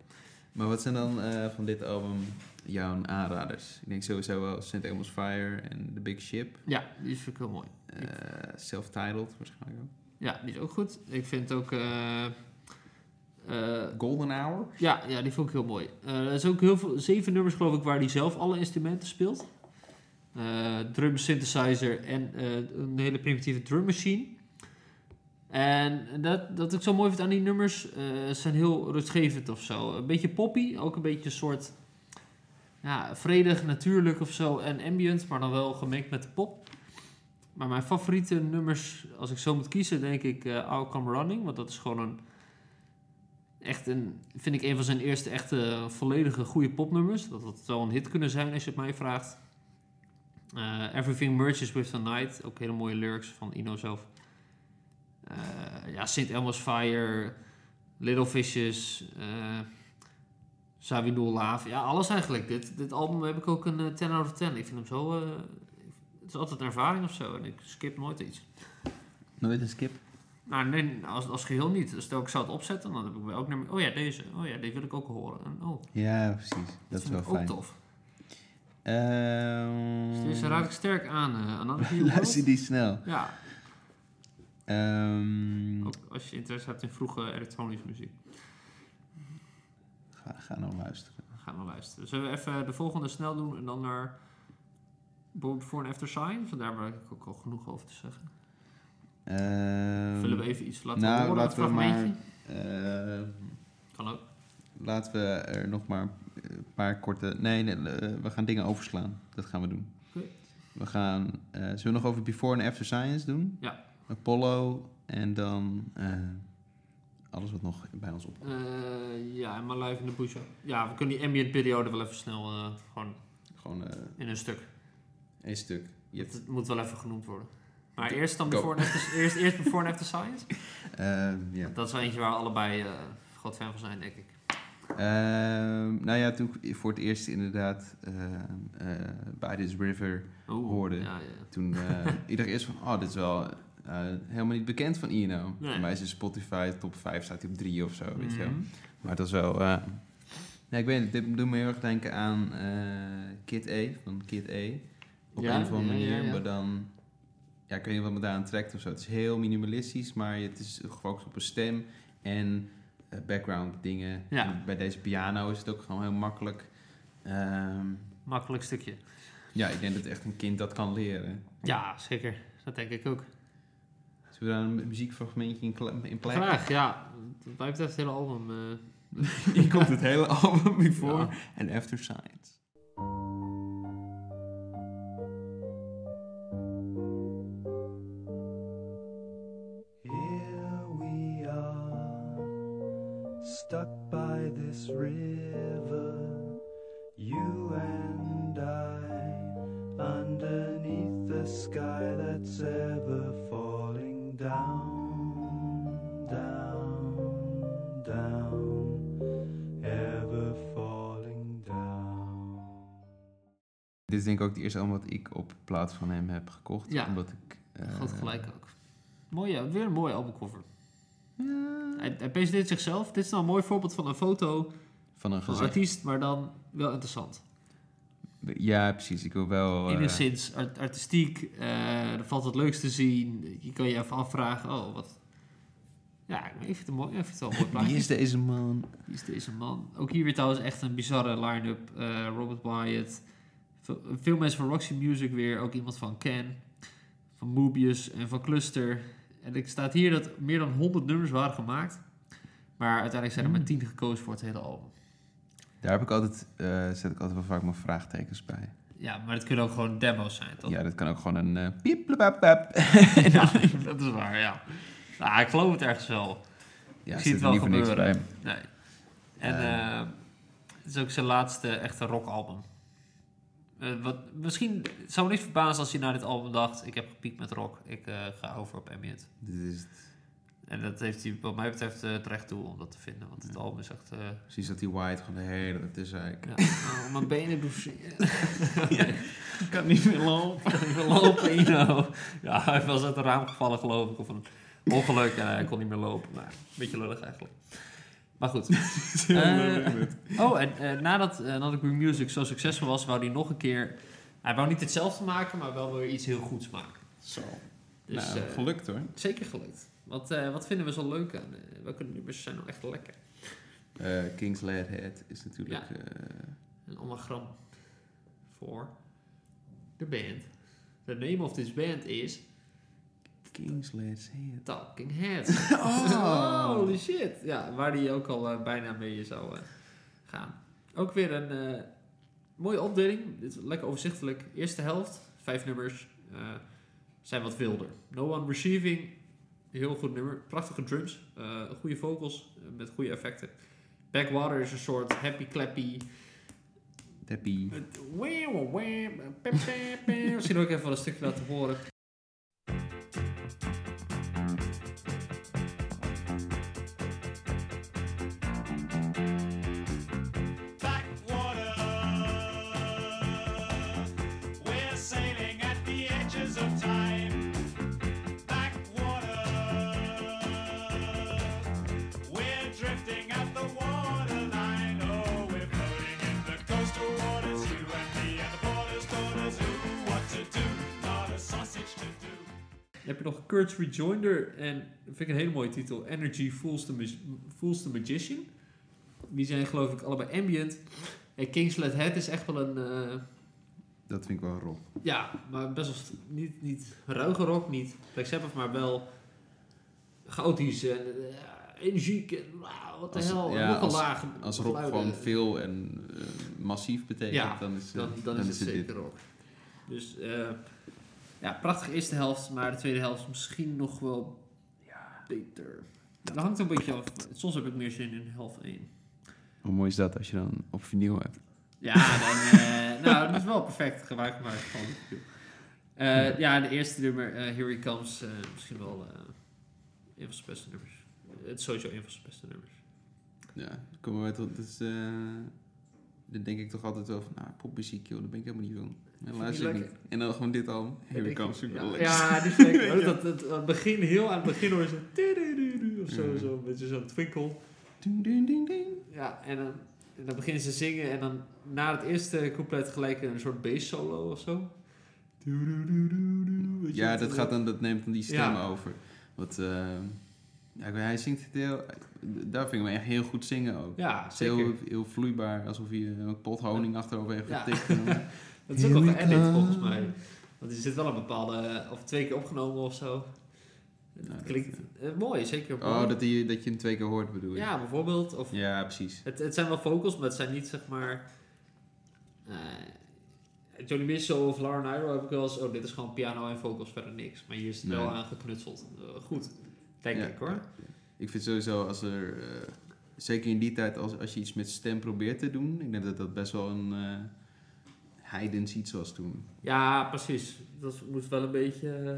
Speaker 1: Maar wat zijn dan eh, van dit album jouw aanraders? Ik denk sowieso wel St. Elmo's Fire en The Big Ship.
Speaker 2: Ja, die is vind ik heel mooi.
Speaker 1: Eh, Self-titled waarschijnlijk ook.
Speaker 2: Ja, die is ook goed. Ik vind ook... eh, eh,
Speaker 1: Golden Hour.
Speaker 2: ja, ja, die vond ik heel mooi. Eh, er is ook heel veel, zeven nummers geloof ik waar hij zelf alle instrumenten speelt. Eh, drum synthesizer en eh, een hele primitieve drum machine. En dat, dat ik zo mooi vind aan die nummers, eh, ze zijn heel rustgevend of zo. Een beetje poppy, ook een beetje een soort ja, vredig, natuurlijk of zo. En ambient, maar dan wel gemengd met de pop. Maar mijn favoriete nummers, als ik zo moet kiezen, denk ik eh I'll Come Running. Want dat is gewoon een echt een, vind ik een van zijn eerste echte volledige goede popnummers. Dat had wel een hit kunnen zijn als je het mij vraagt. Eh, Everything Merges With The Night, ook hele mooie lyrics van Ino zelf. Eh, ja, St. Elmo's Fire, Little Fishes, eh Savinul Laaf. Ja, alles eigenlijk. Dit, dit album heb ik ook een eh, 10 out of 10. Ik vind hem zo... eh, het is altijd een ervaring of zo en ik skip nooit iets.
Speaker 1: Nooit een skip.
Speaker 2: Nou, nee, als, als geheel niet. Stel, ik zou het opzetten, dan heb ik ook nummer... Oh ja, deze. Oh ja, die wil ik ook horen. En, oh,
Speaker 1: Ja, precies. Dat is
Speaker 2: vind
Speaker 1: wel
Speaker 2: ik ook
Speaker 1: fijn.
Speaker 2: tof. Dus
Speaker 1: Ehm,
Speaker 2: deze raad ik sterk aan. eh aan andere
Speaker 1: Luister die snel.
Speaker 2: Ja,
Speaker 1: Ehm,
Speaker 2: ook als je interesse hebt in vroege elektronische muziek.
Speaker 1: ga, ga nou luisteren.
Speaker 2: Ga maar luisteren. Zullen we even de volgende snel doen en dan naar... Voor en After Sign? Vandaar waar ik ook al genoeg over te zeggen.
Speaker 1: Ehm,
Speaker 2: Vullen we even iets laten
Speaker 1: nou,
Speaker 2: horen?
Speaker 1: laten
Speaker 2: een
Speaker 1: we maar-
Speaker 2: fragmentje?
Speaker 1: ehm,
Speaker 2: Kan ook.
Speaker 1: laten we er nog maar een paar korte... Nee, nee, eh, we gaan dingen overslaan. Dat gaan we doen.
Speaker 2: Oké.
Speaker 1: We gaan... eh, zullen we nog over Before en After Science doen?
Speaker 2: Ja.
Speaker 1: Apollo en dan eh, alles wat nog bij ons op.
Speaker 2: Eh, ja, en maar live in de bush. Ja, we kunnen die ambient periode wel even snel eh, gewoon
Speaker 1: Gewoon eh,
Speaker 2: in een stuk.
Speaker 1: één stuk. Je hebt,
Speaker 2: Het moet wel even genoemd worden. Maar
Speaker 1: Go.
Speaker 2: eerst dan
Speaker 1: Go.
Speaker 2: Before and After, eerst, eerst before and after Science?
Speaker 1: ehm, ja.
Speaker 2: Dat is wel eentje waar we allebei eh groot fan van zijn, denk ik.
Speaker 1: Ehm, nou ja, toen ik voor het eerst inderdaad eh, eh, bij This River...
Speaker 2: Oeh,
Speaker 1: Hoorde.
Speaker 2: Ja, ja.
Speaker 1: Toen eh iedereen eerst van, oh, dit is wel eh, helemaal niet bekend van Ino.
Speaker 2: Nee.
Speaker 1: Bij mij is in Spotify top 5, staat hij op 3 of zo, Oh, weet je wel.
Speaker 2: Mhm.
Speaker 1: Maar dat is wel... eh, nee, ik weet niet, dit doet me heel erg denken aan eh, Kid E, van Kid E. Op
Speaker 2: Ja,
Speaker 1: een of andere
Speaker 2: ja, ja,
Speaker 1: manier,
Speaker 2: ja.
Speaker 1: maar dan... Ja, ik weet niet wat me daaraan trekt of zo. Het is heel minimalistisch, maar het is gefocust op een stem en eh, background dingen.
Speaker 2: Ja.
Speaker 1: En Bij deze piano is het ook gewoon heel makkelijk. Ehm,
Speaker 2: Makkelijk stukje.
Speaker 1: ja, ik denk dat echt een kind dat kan leren.
Speaker 2: Ja, zeker. Dat denk ik ook.
Speaker 1: Zullen we daar een muziekfragmentje in, kle- in plek?
Speaker 2: Graag, ja. Wat mij betreft het hele album. eh,
Speaker 1: Hier komt het hele album Before
Speaker 2: Ja.
Speaker 1: and After Science.
Speaker 5: Here we are, stuck by this river, you and I, underneath the sky that's ever falling down, down, down, ever falling down.
Speaker 1: Dit is denk ik ook het eerste album wat ik op plaats van hem heb gekocht.
Speaker 2: Ja.
Speaker 1: Omdat ik... eh,
Speaker 2: Groot gelijk ook. Mooi, weer een mooie albumcover.
Speaker 1: Ja.
Speaker 2: Hij, hij presenteert zichzelf. Dit is nou een mooi voorbeeld van een foto
Speaker 1: Van een
Speaker 2: van een
Speaker 1: gezicht.
Speaker 2: artiest, maar dan wel interessant.
Speaker 1: Ja, precies. Ik wil wel... eh,
Speaker 2: Enigszins art- artistiek, eh, er valt wat leuks te zien. Je kan je even afvragen, oh wat... Ja, ik vind het, een mooi, ik vind het wel een mooi plaatje.
Speaker 1: wie is deze man?
Speaker 2: Wie is deze man? Ook hier weer trouwens echt een bizarre line-up. Eh, Robert Wyatt, veel, veel mensen van Roxy Music weer, ook iemand van Can, van Mobius en van Cluster. En ik staat hier dat meer dan 100 nummers waren gemaakt, maar uiteindelijk zijn er
Speaker 1: Hmm.
Speaker 2: maar 10 gekozen voor het hele album.
Speaker 1: Daar heb ik altijd, eh, zet ik altijd wel vaak mijn vraagtekens bij.
Speaker 2: Ja, maar het kunnen ook gewoon demo's zijn, toch?
Speaker 1: Ja, dat kan ook gewoon een eh, piep, blap, blap.
Speaker 2: Ja, dat is waar, ja. Nou, ik geloof het ergens wel.
Speaker 1: Ja,
Speaker 2: het
Speaker 1: zit er
Speaker 2: wel
Speaker 1: niet voor niks
Speaker 2: gebeuren.
Speaker 1: bij.
Speaker 2: Nee. En
Speaker 1: Eh.
Speaker 2: eh, het is ook zijn laatste echte rockalbum. Eh, wat, misschien het zou me niks verbazen als hij naar dit album dacht: ik heb gepiekt met rock, ik eh, ga over op ambient.
Speaker 1: Dit is het.
Speaker 2: En dat heeft hij, wat mij betreft, eh, terecht toe om dat te vinden. Want het album is echt. eh,
Speaker 1: Precies dat die white gewoon de hele tijd is eigenlijk.
Speaker 2: ja, oh, mijn benen doucheren.
Speaker 3: Ik kan niet meer lopen.
Speaker 2: We lopen, Ino. Ja, hij was uit een raam gevallen, geloof ik. Of een ongeluk en hij kon niet meer lopen. Nou, een beetje lullig eigenlijk. Maar goed. Eh, oh, en eh, nadat eh, nadat Green Music zo succesvol was, wou hij nog een keer... Hij wou niet hetzelfde maken, maar wel weer iets heel goeds maken.
Speaker 3: Zo.
Speaker 2: Dus
Speaker 3: nou,
Speaker 2: eh,
Speaker 3: gelukt hoor.
Speaker 2: zeker gelukt. Wat, eh, wat vinden we zo leuk aan? eh, welke nummers zijn nou echt lekker?
Speaker 1: Eh, King's Lead Head is natuurlijk... eh,
Speaker 2: Een anagram voor de band. The name of this band is
Speaker 1: King's Lead Head.
Speaker 2: Talking Heads.
Speaker 1: Oh.
Speaker 2: Holy shit. Ja, waar die ook al eh, bijna mee zou eh, gaan. Ook weer een eh, mooie opdeling. Dit is lekker overzichtelijk. Eerste helft, vijf nummers, eh, zijn wat wilder. No One Receiving, heel goed nummer. Prachtige drums, eh, goede vocals eh, met goede effecten. Backwater is een soort happy clappy.
Speaker 1: Tappy.
Speaker 2: met wauw, wauw, wauw, pep, pep, pep. Misschien ook even wel een stukje laten horen.
Speaker 4: Backwater. We're sailing at the edges of time. Backwater. We're drifting at the waterline. Oh, we're floating in the coastal waters. You and me and the border's daughters. Who what to do? Not a sausage to do.
Speaker 2: Dan heb je nog Kurt's Rejoinder en dat vind ik een hele mooie titel. Energy Fools the, Mag- Fools the Magician. Die zijn geloof ik allebei ambient. En King's Let Head is echt wel een... eh,
Speaker 1: Dat vind ik wel rof.
Speaker 2: ja, maar best wel st- niet, niet ruige rock, niet Black Sabbath, maar wel chaotisch en eh, energiek en wauw, wat de
Speaker 1: Als-
Speaker 2: hel.
Speaker 1: ja,
Speaker 2: nog een
Speaker 1: als-
Speaker 2: laag.
Speaker 1: Als rock
Speaker 2: geluiden.
Speaker 1: gewoon veel en eh, massief betekent,
Speaker 2: Ja,
Speaker 1: dan is, eh,
Speaker 2: dan, dan, is het
Speaker 1: dit.
Speaker 2: zeker ook. Dus eh, ja, prachtige eerste helft, maar de tweede helft misschien nog wel beter. Dat hangt een beetje af. Soms heb ik meer zin in helft 1.
Speaker 1: Hoe mooi is dat als je dan op vinyl hebt?
Speaker 2: Ja, dan, eh, nou, dat is wel perfect gebruik gemaakt van. Eh, ja, de eerste nummer, eh, Here He Comes, eh, misschien wel eh een van zijn beste nummers. Het is sowieso een van zijn beste nummers.
Speaker 1: Ja, komen we tot. Dus, eh dan denk ik toch altijd wel van, nou, popmuziek, joh, daar ben ik helemaal niet van. En
Speaker 2: niet
Speaker 1: luister ik
Speaker 2: lekker?
Speaker 1: niet. En dan gewoon dit album. Here we
Speaker 2: Ik-
Speaker 1: come, super
Speaker 2: ja,
Speaker 1: lekker.
Speaker 2: ja, die is lekker. Ook Dat, dat, aan het begin, heel aan het begin hoor je zo... "Tudududu" Of zo,
Speaker 1: Ja.
Speaker 2: zo, een beetje zo'n twinkel.
Speaker 1: Ding, ding, ding, ding.
Speaker 2: Ja, en dan, en dan beginnen ze zingen en dan na het eerste couplet gelijk een soort bass solo of zo. Weet je
Speaker 1: Ja,
Speaker 2: wat?
Speaker 1: dat, gaat dan, dat neemt dan die stem
Speaker 2: Ja.
Speaker 1: over. Wat, eh, Ja, ik weet- hij zingt het heel... Daar vind ik hem echt heel goed zingen ook.
Speaker 2: Ja,
Speaker 1: Het is heel,
Speaker 2: zeker.
Speaker 1: heel vloeibaar, alsof je een pot honing achterover heeft
Speaker 2: Ja.
Speaker 1: getikt.
Speaker 2: Dat is ook
Speaker 5: Here
Speaker 2: wel
Speaker 5: we
Speaker 2: geëdit
Speaker 5: come.
Speaker 2: volgens mij. Want er zit wel een bepaalde... Of twee keer opgenomen of zo.
Speaker 1: Nou,
Speaker 2: Het
Speaker 1: dat-
Speaker 2: klinkt eh, mooi, zeker.
Speaker 1: Oh, dat, die, dat je hem twee keer hoort bedoel je?
Speaker 2: Ja, bijvoorbeeld. Of
Speaker 1: Ja, precies.
Speaker 2: Het, het zijn wel vocals, maar het zijn niet zeg maar. eh, Johnny Mitchell of Lauren Iro heb ik wel eens. Oh, dit is gewoon piano en vocals, verder niks. Maar hier is het
Speaker 1: Nee.
Speaker 2: wel aan geknutseld. Eh, goed, denk
Speaker 1: Ja.
Speaker 2: ik hoor.
Speaker 1: Ik vind sowieso als er... eh, zeker in die tijd, als, als je iets met stem probeert te doen... Ik denk dat dat best wel een eh heidens iets was toen.
Speaker 2: Ja, precies. Dat moet wel een beetje eh,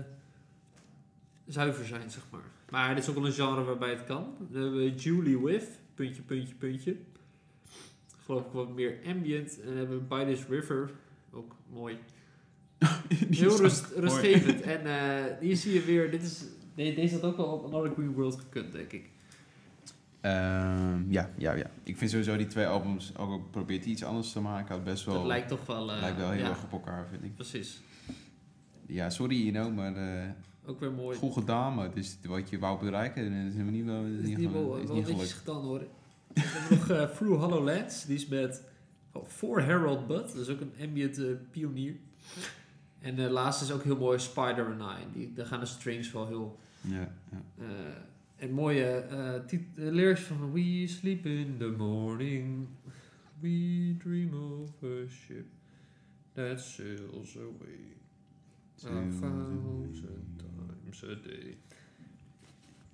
Speaker 2: zuiver zijn, zeg maar. Maar dit is ook wel een genre waarbij het kan. Dan hebben we Julie With, puntje, puntje, puntje. Geloof ik wat meer ambient. En dan hebben we By This River, ook mooi. Heel rust, rustgevend. En eh, hier zie je weer, dit is, de- deze had ook al op Another Green World gekund, denk ik.
Speaker 1: Ehm, ja, ja, ja. Ik vind sowieso die twee albums, ook al probeert hij iets anders te maken, had best wel...
Speaker 2: dat lijkt toch wel... eh,
Speaker 1: lijkt wel heel
Speaker 2: ja,
Speaker 1: erg op elkaar, vind ik.
Speaker 2: Precies.
Speaker 1: Ja, sorry, you know, maar... eh,
Speaker 2: Ook weer mooi.
Speaker 1: Goed gedaan, maar het is wat je wou bereiken. en Het is helemaal niet, wel, het
Speaker 2: Het
Speaker 1: is niet,
Speaker 2: is niet
Speaker 1: gewoon-
Speaker 2: Dus wel,
Speaker 1: het eh, is niet
Speaker 2: wel netjes
Speaker 1: gelukt.
Speaker 2: gedaan hoor. We hebben nog eh Through Hollow Lands, die is met oh, voor Harold Budd, dat is ook een ambient eh, pionier. En de laatste is ook heel mooi Spider and I. Die, daar gaan de strings wel heel.
Speaker 1: Ja, ja.
Speaker 2: eh, en mooie eh, tit- eh, lyrics van We sleep in the morning, we dream of a ship that sails away a thousand times a day.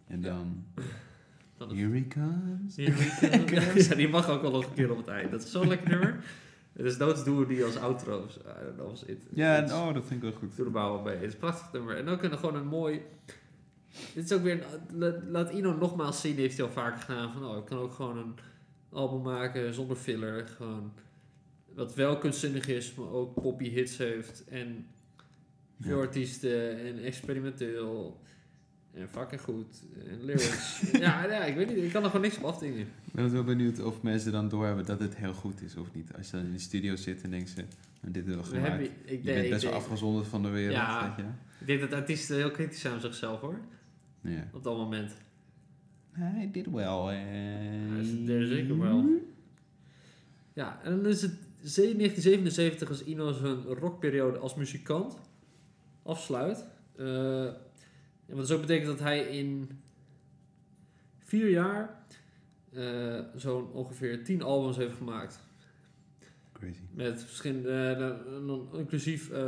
Speaker 1: En dan...
Speaker 2: Dan het
Speaker 1: Here he comes.
Speaker 2: Ja, die- die mag ook wel nog een keer op het eind. Dat is zo'n lekker nummer. Dus doods doen we die als outro. eh, of zo. I don't know, als it.
Speaker 1: Ja,
Speaker 2: Iets.
Speaker 1: oh, dat vind ik wel goed.
Speaker 2: Doe er maar wel mee. Het is een prachtig nummer. En ook een, gewoon een mooi... Dit is ook weer... Een, la- laat Ino nogmaals zien, heeft hij al vaak gedaan. Van, oh, ik kan ook gewoon een album maken zonder filler. Gewoon, wat wel kunstzinnig is, maar ook poppy hits heeft. En veel
Speaker 1: Ja.
Speaker 2: artiesten en experimenteel. En fucking goed. En lyrics. ja, ja, ik weet niet. Ik kan er gewoon niks op afdingen.
Speaker 1: Ik ben wel benieuwd of mensen dan doorhebben dat het heel goed is of niet. Als je dan in de studio zit en denkt ze, nou, dit is wel
Speaker 2: We hebben,
Speaker 1: gemaakt.
Speaker 2: ik,
Speaker 1: Je
Speaker 2: denk,
Speaker 1: bent best
Speaker 2: ik,
Speaker 1: wel
Speaker 2: denk,
Speaker 1: afgezonderd van de wereld,
Speaker 2: Ja.
Speaker 1: weet je.
Speaker 2: ik denk dat artiesten heel kritisch zijn op zichzelf hoor.
Speaker 1: Ja.
Speaker 2: Op dat moment.
Speaker 1: Hij did wel.
Speaker 2: Ja, is- dat is zeker wel. Ja, en dan is het ze- 1977 als Ino zijn rockperiode als muzikant afsluit. Eh, en wat dus ook betekent dat hij in vier jaar eh, zo'n ongeveer tien albums heeft gemaakt.
Speaker 1: Crazy.
Speaker 2: Met verschillende, eh, dan- dan inclusief eh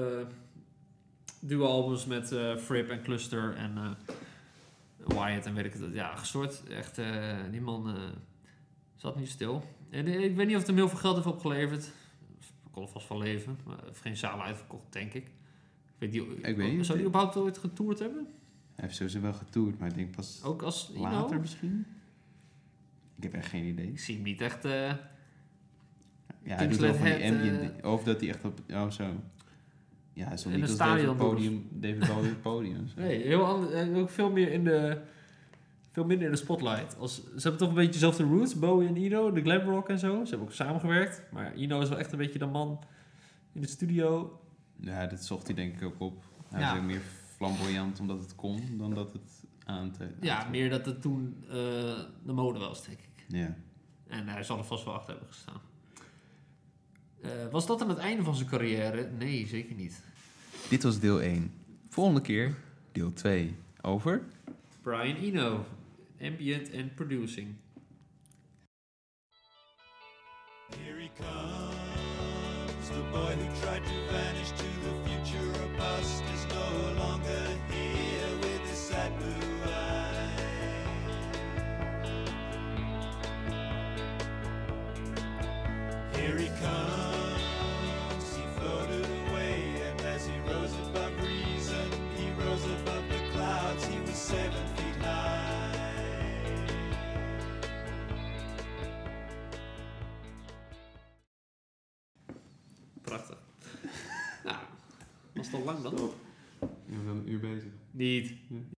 Speaker 2: duo-albums met eh Fripp en Cluster en eh, Wyatt en weet ik het. Ja, gestort. Echt, eh, die man eh, zat niet stil. En eh, ik weet niet of het hem heel veel geld heeft opgeleverd. Ik kon er vast van leven. Maar hij heeft geen zaal uitverkocht, denk ik. Ik weet, niet-
Speaker 1: Ik weet niet.
Speaker 2: Zou die überhaupt ooit getoerd hebben?
Speaker 1: Hij heeft sowieso wel getoerd, maar ik denk pas
Speaker 2: Ook als Ino?
Speaker 1: later misschien. Ik heb echt geen idee.
Speaker 2: Ik zie hem niet echt... eh,
Speaker 1: Ja, hij doet wel
Speaker 2: Kingsland
Speaker 1: van die
Speaker 2: Head,
Speaker 1: ambient
Speaker 2: eh,
Speaker 1: ding. Of dat hij echt op... Oh, zo. Ja, hij stond
Speaker 2: In
Speaker 1: niet als David
Speaker 2: een stadion doen
Speaker 1: Podium. David Bowie op het podium. zo.
Speaker 2: Nee, heel anders. En ook veel meer in de. Veel minder in de spotlight. Als, ze hebben toch een beetje dezelfde roots, Bowie en Ino, de glam rock en zo. Ze hebben ook samengewerkt. Maar Ino is wel echt een beetje de man in de studio.
Speaker 1: Ja, dat zocht hij denk ik ook op. Hij
Speaker 2: Ja.
Speaker 1: was ook meer flamboyant omdat het kon dan dat het aan te...
Speaker 2: Ja,
Speaker 1: aan te-
Speaker 2: meer dat het toen eh, de mode was, denk ik.
Speaker 1: Ja.
Speaker 2: En hij zal er vast wel achter hebben gestaan. Eh, was dat aan het einde van zijn carrière? Nee, zeker niet.
Speaker 1: Dit was deel 1. Volgende keer deel 2. Over?
Speaker 2: Brian Eno, ambient and producing.
Speaker 4: Here he comes, the boy who tried to vanish to the future. A bust is no longer here with his sad blue eye. Here he comes, he floated away, and as he rose above reason, he rose above the clouds. He was seven feet high.
Speaker 2: Prachtig. nou, was het al lang dan?
Speaker 1: We zijn een uur bezig.
Speaker 2: Niet.